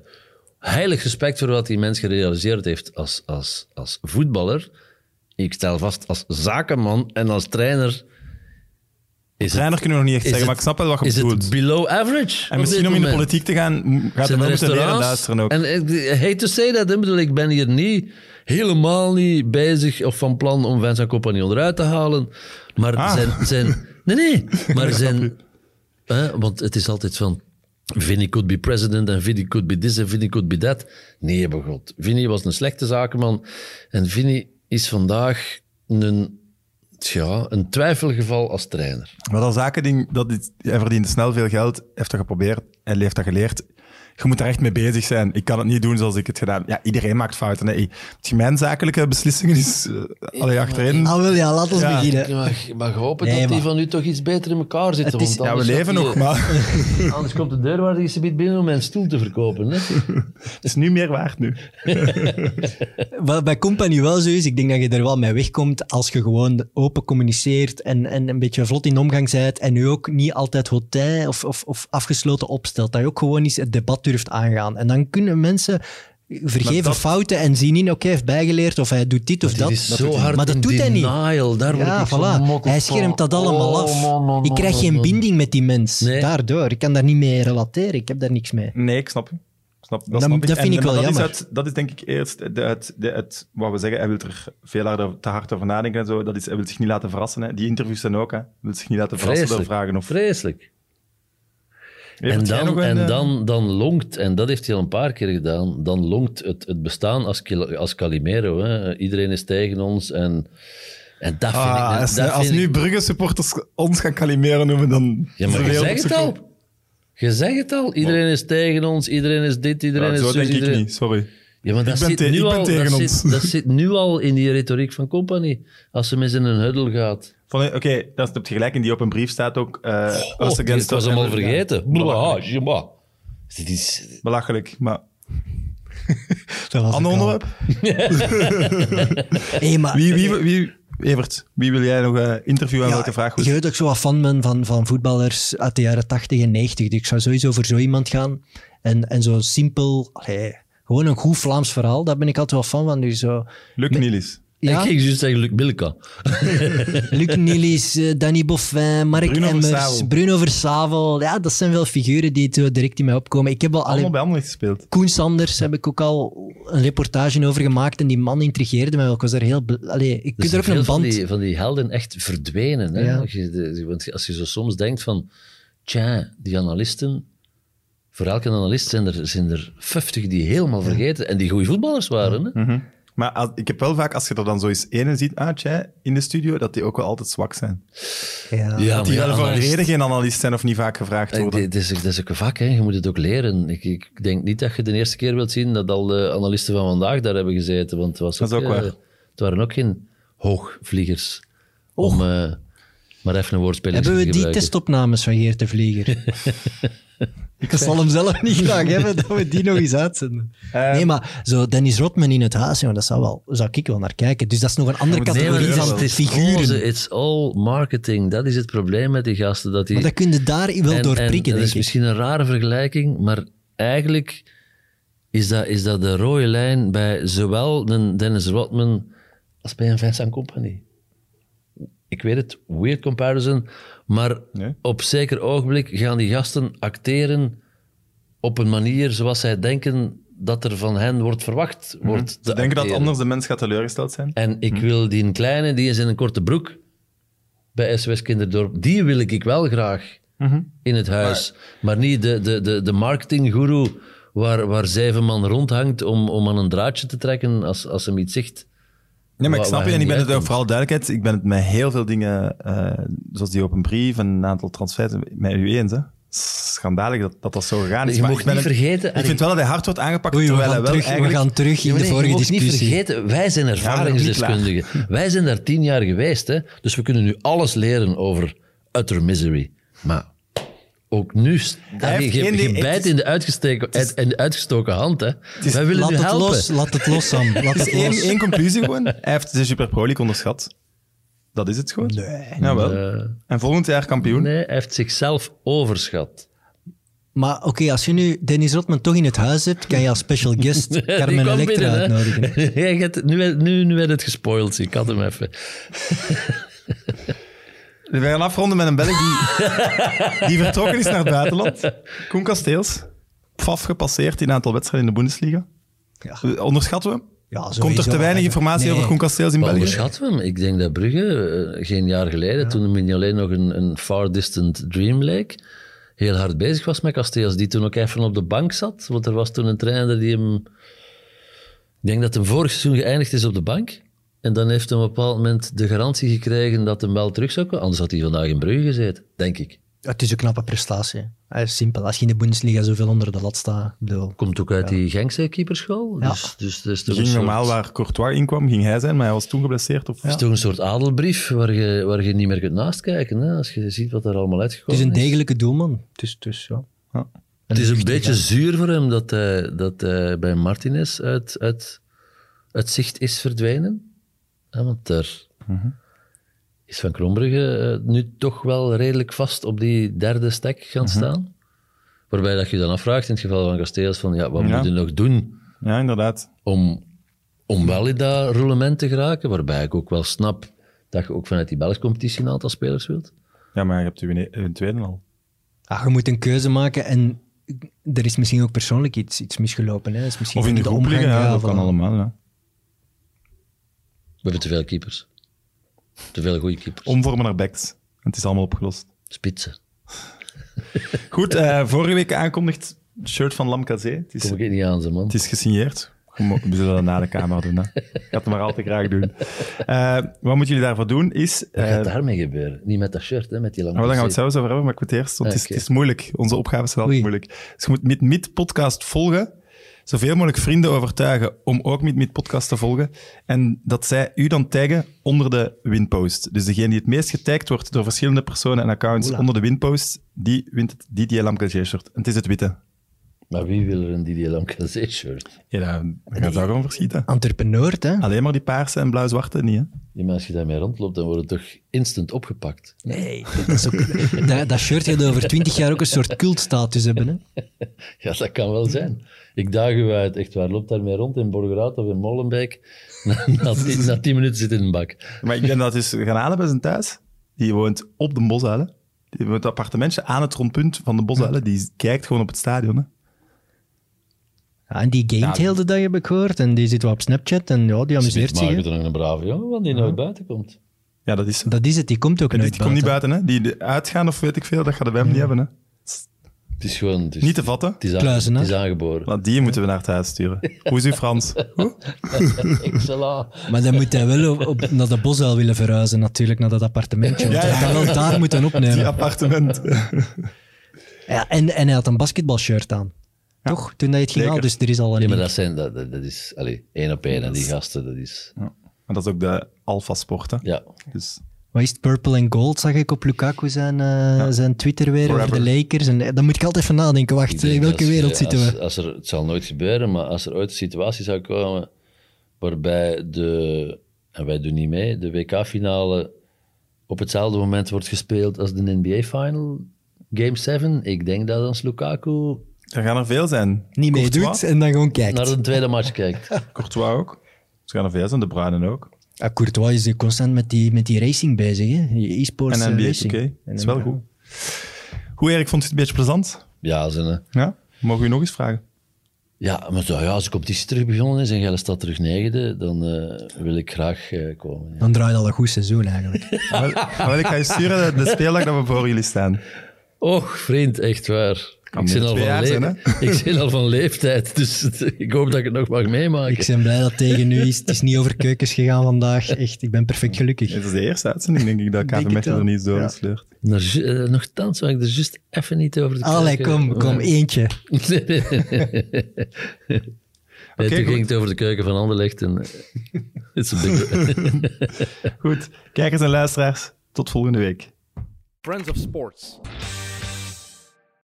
heilig respect voor wat die mens gerealiseerd heeft als, als, als voetballer. Ik stel vast als zakenman en als trainer. Is
Trainer kunnen we nog niet echt
is
zeggen,
het-
maar ik snap wel wat je
is
bedoelt.
het below average?
en misschien om in de politiek te gaan, m- gaat er
Zijn
wel
er
moeten leren
restaurants?
luisteren ook.
En ik hate to say that, hè. ik bedoel, ik ben hier niet, helemaal niet bezig of van plan om Vincent Compagnon eruit te halen. Maar
Ah.
zijn,
[laughs]
zijn... Nee, nee. Maar zijn... Hè, want het is altijd van... Vinnie could be president en Vinnie could be this en Vinnie could be that. Nee, bij God. Vinnie was een slechte zakenman. En Vinnie is vandaag een, ja, een twijfelgeval als trainer.
Maar dat zakending, dat is, hij verdiende snel veel geld, heeft dat geprobeerd en heeft dat geleerd. Je moet daar echt mee bezig zijn. Ik kan het niet doen zoals ik het gedaan heb. Ja, iedereen maakt fouten. Nee. Het gemeen zakelijke beslissingen is eh, allee, achterin.
Ah, wel ja, laat ons
Ja.
beginnen.
Je mag, je mag hopen
Nee,
dat die
maar-
van u toch iets beter in elkaar zitten.
Het is-
want
Ja, we
anders
leven
gaat
nog,
die-
maar [laughs]
Anders komt de deurwaarder je biedt binnen om mijn stoel te verkopen. [laughs] Hè?
het is nu meer waard nu.
Wat bij Company wel zo is, ik denk dat je er wel mee wegkomt als je gewoon open communiceert en, en een beetje vlot in omgang bent en je ook niet altijd hotel of, of, of afgesloten opstelt. Dat je ook gewoon eens het debat durft aangaan. En dan kunnen mensen vergeven
Maar dat-
fouten en zien in, oké, hij heeft bijgeleerd of hij doet dit of dat.
Dat is
Dat
zo
doet hij niet.
hard
Maar dat
in
doet hij niet.
denial. Daar word
Ja,
ik zo
voilà.
mokkeld
Hij
van.
schermt dat allemaal
Oh,
af.
man, man,
ik krijg
man,
geen
man.
binding met die mens.
Nee.
Daardoor. Ik kan daar niet mee relateren. Ik heb daar niks mee.
Nee, ik snap je. Ik Snap, dat,
Dan-
snap ik.
dat vind ik
maar
wel
dat
jammer.
Is uit- dat is denk ik eerst de, het, de, het, wat we zeggen. Hij wil er veel harder, te hard over nadenken en zo. Dat is, hij wil zich niet laten verrassen. Hè. Die interviews zijn ook. Hè. Hij wil zich niet laten verrassen
Vreselijk.
door vragen. Of,
Vreselijk.
Evert,
en
jij nog
dan,
een,
en
eh,
dan, dan longt, en dat heeft hij al een paar keer gedaan, dan longt het, het bestaan als, Kil- als Calimero. Hè. Iedereen is tegen ons en, en dat vind
Ah,
ik...
als
dat
als
vind
nu
ik-
Brugge-supporters ons gaan Calimero noemen, dan...
Ja, maar
is de
je
wereld op
zegt het
zijn kop.
al. Je zegt het al. Iedereen is tegen ons, iedereen is dit, iedereen
Ja,
is
zo
zus,
denk ik
iedereen-
niet, sorry.
Ja, maar dat
ben
zit
te-
nu
ik ben
al-
tegen
dat
ons.
zit- Dat zit nu al in die retoriek van Company. Als ze met in een huddle gaat.
Van, Oké, dat is op gelijk in die open brief staat ook... eh
Oh,
us against
het was
us
hem al
en-
vergeten.
Ja,
Blah,
belachelijk.
jima. Dit is...
Belachelijk, maar...
Dat was
Ander
ook al.
onderwerp?
Hey, maar-
Wie, wie, wie, Evert, wie wil jij nog eh, interviewen en
Ja,
welke vraag? goed?
Je weet dat ik zo wat fan ben van, van voetballers uit de jaren 80 en 90. Dus ik zou sowieso voor zo iemand gaan. En, en zo simpel, allee, gewoon een goed Vlaams verhaal. Daar ben ik altijd wel fan van. Dus zo,
Luc Nielis.
ja,
Ik ging juist zeggen Luc Bilka.
Luc Nielis, eh, Danny Boffin, Mark
Bruno
Emmers,
Versavel.
Bruno Versavel. Ja, dat zijn wel figuren die zo direct in mij opkomen. Ik heb wel
Allemaal
allee,
bij Anderlecht gespeeld.
Koen Sanders heb ik ook al een reportage over gemaakt. En die man intrigeerde mij wel. Ik was er heel... bl- Allee, ik
Dus
kunt er ook
veel
een
van
band...
die, van die helden echt verdwenen. Hè?
Ja.
Als, je, de- want als je zo soms denkt van... Tja, die analisten... Voor elke analist zijn er, zijn er 50 die helemaal vergeten. En die goede voetballers waren. Hè?
Mhm.
Maar als- ik heb wel vaak, als je er dan zo eens ene ziet, ah, tjai, in de studio, dat die ook wel altijd zwak zijn.
Ja.
maar
Die wel voor een
analist-
reden geen analist zijn of niet vaak gevraagd
Eh,
worden.
dit is, dit is ook een vak, hè. je moet het ook leren. Ik, ik denk niet dat je de eerste keer wilt zien dat al de analisten van vandaag daar hebben gezeten. Want het, was
Dat is ook
eh,
waar.
het waren ook geen hoogvliegers. Om eh, maar even een woordspeling
Hebben we
te
die
gebruiken.
testopnames van Geert de
[laughs]
Vlieger? ik zal hem zelf niet graag hebben dat we die nog eens uitzenden.
Eh,
nee, maar zo Dennis Rodman in het huis, jongen, dat zou, wel, zou ik wel naar kijken. Dus dat is nog een andere
Nee, maar
categorie
het is-
van
het is
figuren.
roze, it's all marketing. Dat is het probleem met die gasten. Dat die,
maar dat kun je daar wel
en-
door
en
prikken,
Dat
denk
is
ik.
misschien een rare vergelijking, maar eigenlijk is dat, is dat de rode lijn bij zowel een Dennis Rodman als bij een Vincent Company. Ik weet het, weird comparison, maar
Nee.
op zeker ogenblik gaan die gasten acteren op een manier zoals zij denken dat er van hen wordt verwacht. Wordt te
Mhm. Ze denken dat
acteren.
anders de mens gaat teleurgesteld zijn.
En ik wil die kleine, die is in een korte broek bij SOS Kinderdorp, die wil ik wel graag in het huis. Maar, niet de, de, de, de marketinggoeroe waar, waar zeven man rondhangt om, om aan een draadje te trekken als, als hem iets zegt.
Nee, maar ik
Wa-
snap
waar
je. En
hij
ik ben
niet
het ook vooral
uitkomt.
duidelijkheid. Ik ben het met heel veel dingen, eh, zoals die open brief en een aantal transfers, met u eens. Hè. Schandalig dat dat, dat zo gegaan is.
Je
maar
mocht
ik ben
niet
het-
vergeten,
Ik
Arie.
vind wel dat hij hard wordt aangepakt,
Oei, we,
terwijl hij wel
gaan terug, we
eigenlijk...
gaan terug in
Ja, maar
de
nee, je
vorige
mag
discussie.
niet vergeten, wij zijn ervaringsdeskundigen. wij zijn daar tien jaar geweest, hè? dus we kunnen nu alles leren over utter misery. Maar ook nu, st-
Hij
je,
heeft
je
geen idee. Het
bijt
is-
in de, uitgesteken, in de uitgestoken hand. Hè? wij willen
Laat
u
het
helpen. [laughs]
los, laat het los, Sam. Laat
Het
het
is één,
los.
één conclusie gewoon. Hij heeft de Super Pro League onderschat. Dat is het gewoon.
Nee.
Jawel.
Eh,
En volgend jaar kampioen.
nee, hij heeft zichzelf overschat.
Maar oké, als je nu Dennis Rotman toch in het huis hebt, kan je als special
[laughs]
guest
Die
Carmen
kwam
Electra
binnen, hè.
uitnodigen.
[laughs] Jij gaat- nu, nu, nu werd het gespoild, ik had hem even.
We gaan afronden met een Belg die, die vertrokken is naar het buitenland. Koen Kasteels. Pfaf gepasseerd in een aantal wedstrijden in de Bundesliga.
Ja.
Eh, Onderschatten we hem?
Ja,
Komt
sowieso.
er te weinig informatie
Nee.
over Koen Kasteels in
Maar
België?
onderschatten we hem? Ik denk dat Brugge, eh, geen jaar geleden, toen hem niet alleen nog een, een far distant dream leek, heel hard bezig was met Kasteels, die toen ook even op de bank zat. Want er was toen een trainer die hem... Ik denk dat hem vorig seizoen geëindigd is op de bank. En dan heeft hem op een bepaald moment de garantie gekregen dat hem wel terug zou komen. Anders had hij vandaag in Brugge gezeten, denk ik.
Het is een knappe prestatie. hè. Hij is simpel. Als je in de Bundesliga zoveel onder de lat staat, ik bedoel,
Komt ook uit die Genkse keeperschool.
Ja.
Dus, dus dat is toch een
Ging
soort-
normaal waar Courtois in kwam, ging hij zijn, maar hij was toen geblesseerd. Of,
Het is toch een soort adelbrief waar je, waar je niet meer kunt naastkijken. Hè? Als je ziet wat er allemaal
het
uitgekomen
is een
is.
degelijke doelman. Dus, dus, ja.
Ja.
Het is een beetje zuur voor hem dat hij, dat hij bij Martinez uit, uit, uit zicht is verdwenen. Ja, want daar
Mhm.
is Van Krombrugge eh, nu toch wel redelijk vast op die derde stek gaan
Mhm.
staan. Waarbij dat je dan afvraagt, in het geval van Casteels, van ja, wat
Ja.
moet je nog doen
Ja, inderdaad.
om, om wel in dat roulement te geraken? Waarbij ik ook wel snap dat je ook vanuit die Belgische competitie een aantal spelers wilt.
Ja, maar je hebt u in in het tweede al.
Ah, je moet een keuze maken en er is misschien ook persoonlijk iets, iets misgelopen. Hè. Is misschien
Of in de groep
omgang,
liggen, ja, dat
van-
kan allemaal. Ja.
We hebben te veel keepers. Te veel goede keepers.
Omvormen naar backs. Het is allemaal opgelost.
Spitsen.
Goed, eh, vorige week aankondigd, shirt van Lam Kazé. Het is,
Kom ik niet aan, ze man.
het is gesigneerd. We zullen dat na de camera doen. Hè. Ik had het maar altijd graag doen. Eh, wat moeten jullie daarvoor doen is...
Wat
eh,
gaat daarmee gebeuren? Niet met dat shirt, hè, met die lange
Nou, daar gaan we het
zee.
zelfs over hebben, maar ik moet eerst, want het, is,
Oké.
het is moeilijk. Onze opgaves zijn altijd
Oei.
moeilijk. Dus je moet Meet Meet podcast volgen, zoveel mogelijk vrienden overtuigen om ook Meet Meet podcast te volgen en dat zij u dan taggen onder de winpost. Dus degene die het meest getagd wordt door verschillende personen en accounts onder de winpost, die wint het Didier Lamke-shirt. En het is het witte.
Maar wie wil er een Didier Lamkazé shirt?
Ja, dan dan gaat daar gewoon verschieten.
Entrepreneur, hè?
Alleen maar die paarse en blauw-zwarte niet, hè?
Die mensen die daarmee rondloopt, dan worden toch instant opgepakt.
Nee, dat, is ook, [laughs] dat, dat shirt gaat over twintig jaar ook een soort cultstatus hebben. Hè?
Ja, dat kan wel zijn. Ik daag u uit, echt waar. Loop daarmee rond in Borgerhout of in Molenbeek. [laughs] Na, na, tien, na tien minuten zit in een bak.
Maar ik denk dat is gaan halen bij zijn thuis. Die woont op de Bosuilen. Die woont op appartementje aan het rondpunt van de Bosuilen. Die kijkt gewoon op het stadion. Hè.
Ja, en die gamet
Ja,
heel de dag, heb ik gehoord. En die zit wel op Snapchat en ja, die amuseert zich.
Maar
hè.
je er nog een brave jongen van die
Ah.
nooit buiten komt.
Ja, dat is zo.
Dat is het, die komt ook
Die
nooit
komt niet
buiten.
buiten, hè. Die de- uitgaan of weet ik veel, dat gaat de WEM niet hebben, hè.
Het is gewoon... Het is,
Niet te vatten.
het is, aan-
Kluizenaar.
het is
[laughs]
aangeboren.
Want die moeten we naar het huis sturen. Hoe is uw Frans? Hoe?
Excellent.
Maar dan moet hij wel op, op- naar de bosuil willen verhuizen, natuurlijk, naar dat appartementje. Want
Ja, ja.
hij kan wel daar moeten
Die
opnemen.
appartement.
Ja, en, en hij had een basketbalshirt aan. Toch? Toen hij het ging
Zeker.
halen, dus er is al een...
Ja, maar dat, zijn, dat, dat, dat is... Allez, één op één. En die gasten, dat is...
Ja. Maar dat is ook de alfa-sport, hè.
Ja,
Dus
Wat is het? Purple and Gold zag ik op Lukaku zijn, eh, zijn Twitter weer over
Forever.
de Lakers. En, eh, dan moet ik altijd even nadenken. Wacht,
Ik
in
denk
welke
als-
wereld
als-
zitten we?
Als er, het zal nooit gebeuren, maar als er ooit een situatie zou komen waarbij de, en wij doen niet mee, de WK-finale op hetzelfde moment wordt gespeeld als de NBA-final, Game 7, ik denk dat ons Lukaku
er gaan er veel zijn.
Niet meedoet
Courtois.
en dan gewoon kijkt.
naar de tweede match
[laughs]
kijkt.
Courtois ook. Ze gaan er veel zijn, de Bruinen ook.
Ja, Ah, Courtois is eh, constant met die, met die racing bezig. Hè? Die E-sports
En
eh,
NBA
racing.
2K.
En
Dat is wel
NBA.
goed. Hoe, Erik, vond je het een beetje plezant?
Ja, ze,
Ja? Mogen we u nog eens vragen?
ja, maar zo, ja, als de competitie terug begonnen is en Gelle staat terug negende, dan eh, wil ik graag eh, komen. ja.
Dan draait al een goed seizoen eigenlijk.
Ah, wel, ah, wel, ik ga je sturen de, de speeldag dat we voor jullie staan.
Och, vriend, echt waar. Ik
binnen
zit, al
twee
van
jaar zijn,
leef- [laughs] ik zit al van leeftijd, dus [laughs] het- ik hoop dat ik het nog mag meemaken.
ik ben blij dat het tegen nu is. Het is niet over keukens gegaan vandaag. Echt, ik ben perfect gelukkig.
Dit is de eerste uitzending, denk ik, dat
Denk
KV
het
Mechelen
wel.
er niet door is sleurt.
Naar, ju- eh, nochtans wou ik er juist even niet over te
Allee,
keuken.
kom, kom, eentje.
[laughs] Nee, nee. Nee, toen
goed.
ging het over de keuken van Anderlecht. En, eh, [laughs] it's a big...
Goed, kijkers en luisteraars, tot volgende week.
Friends of Sports.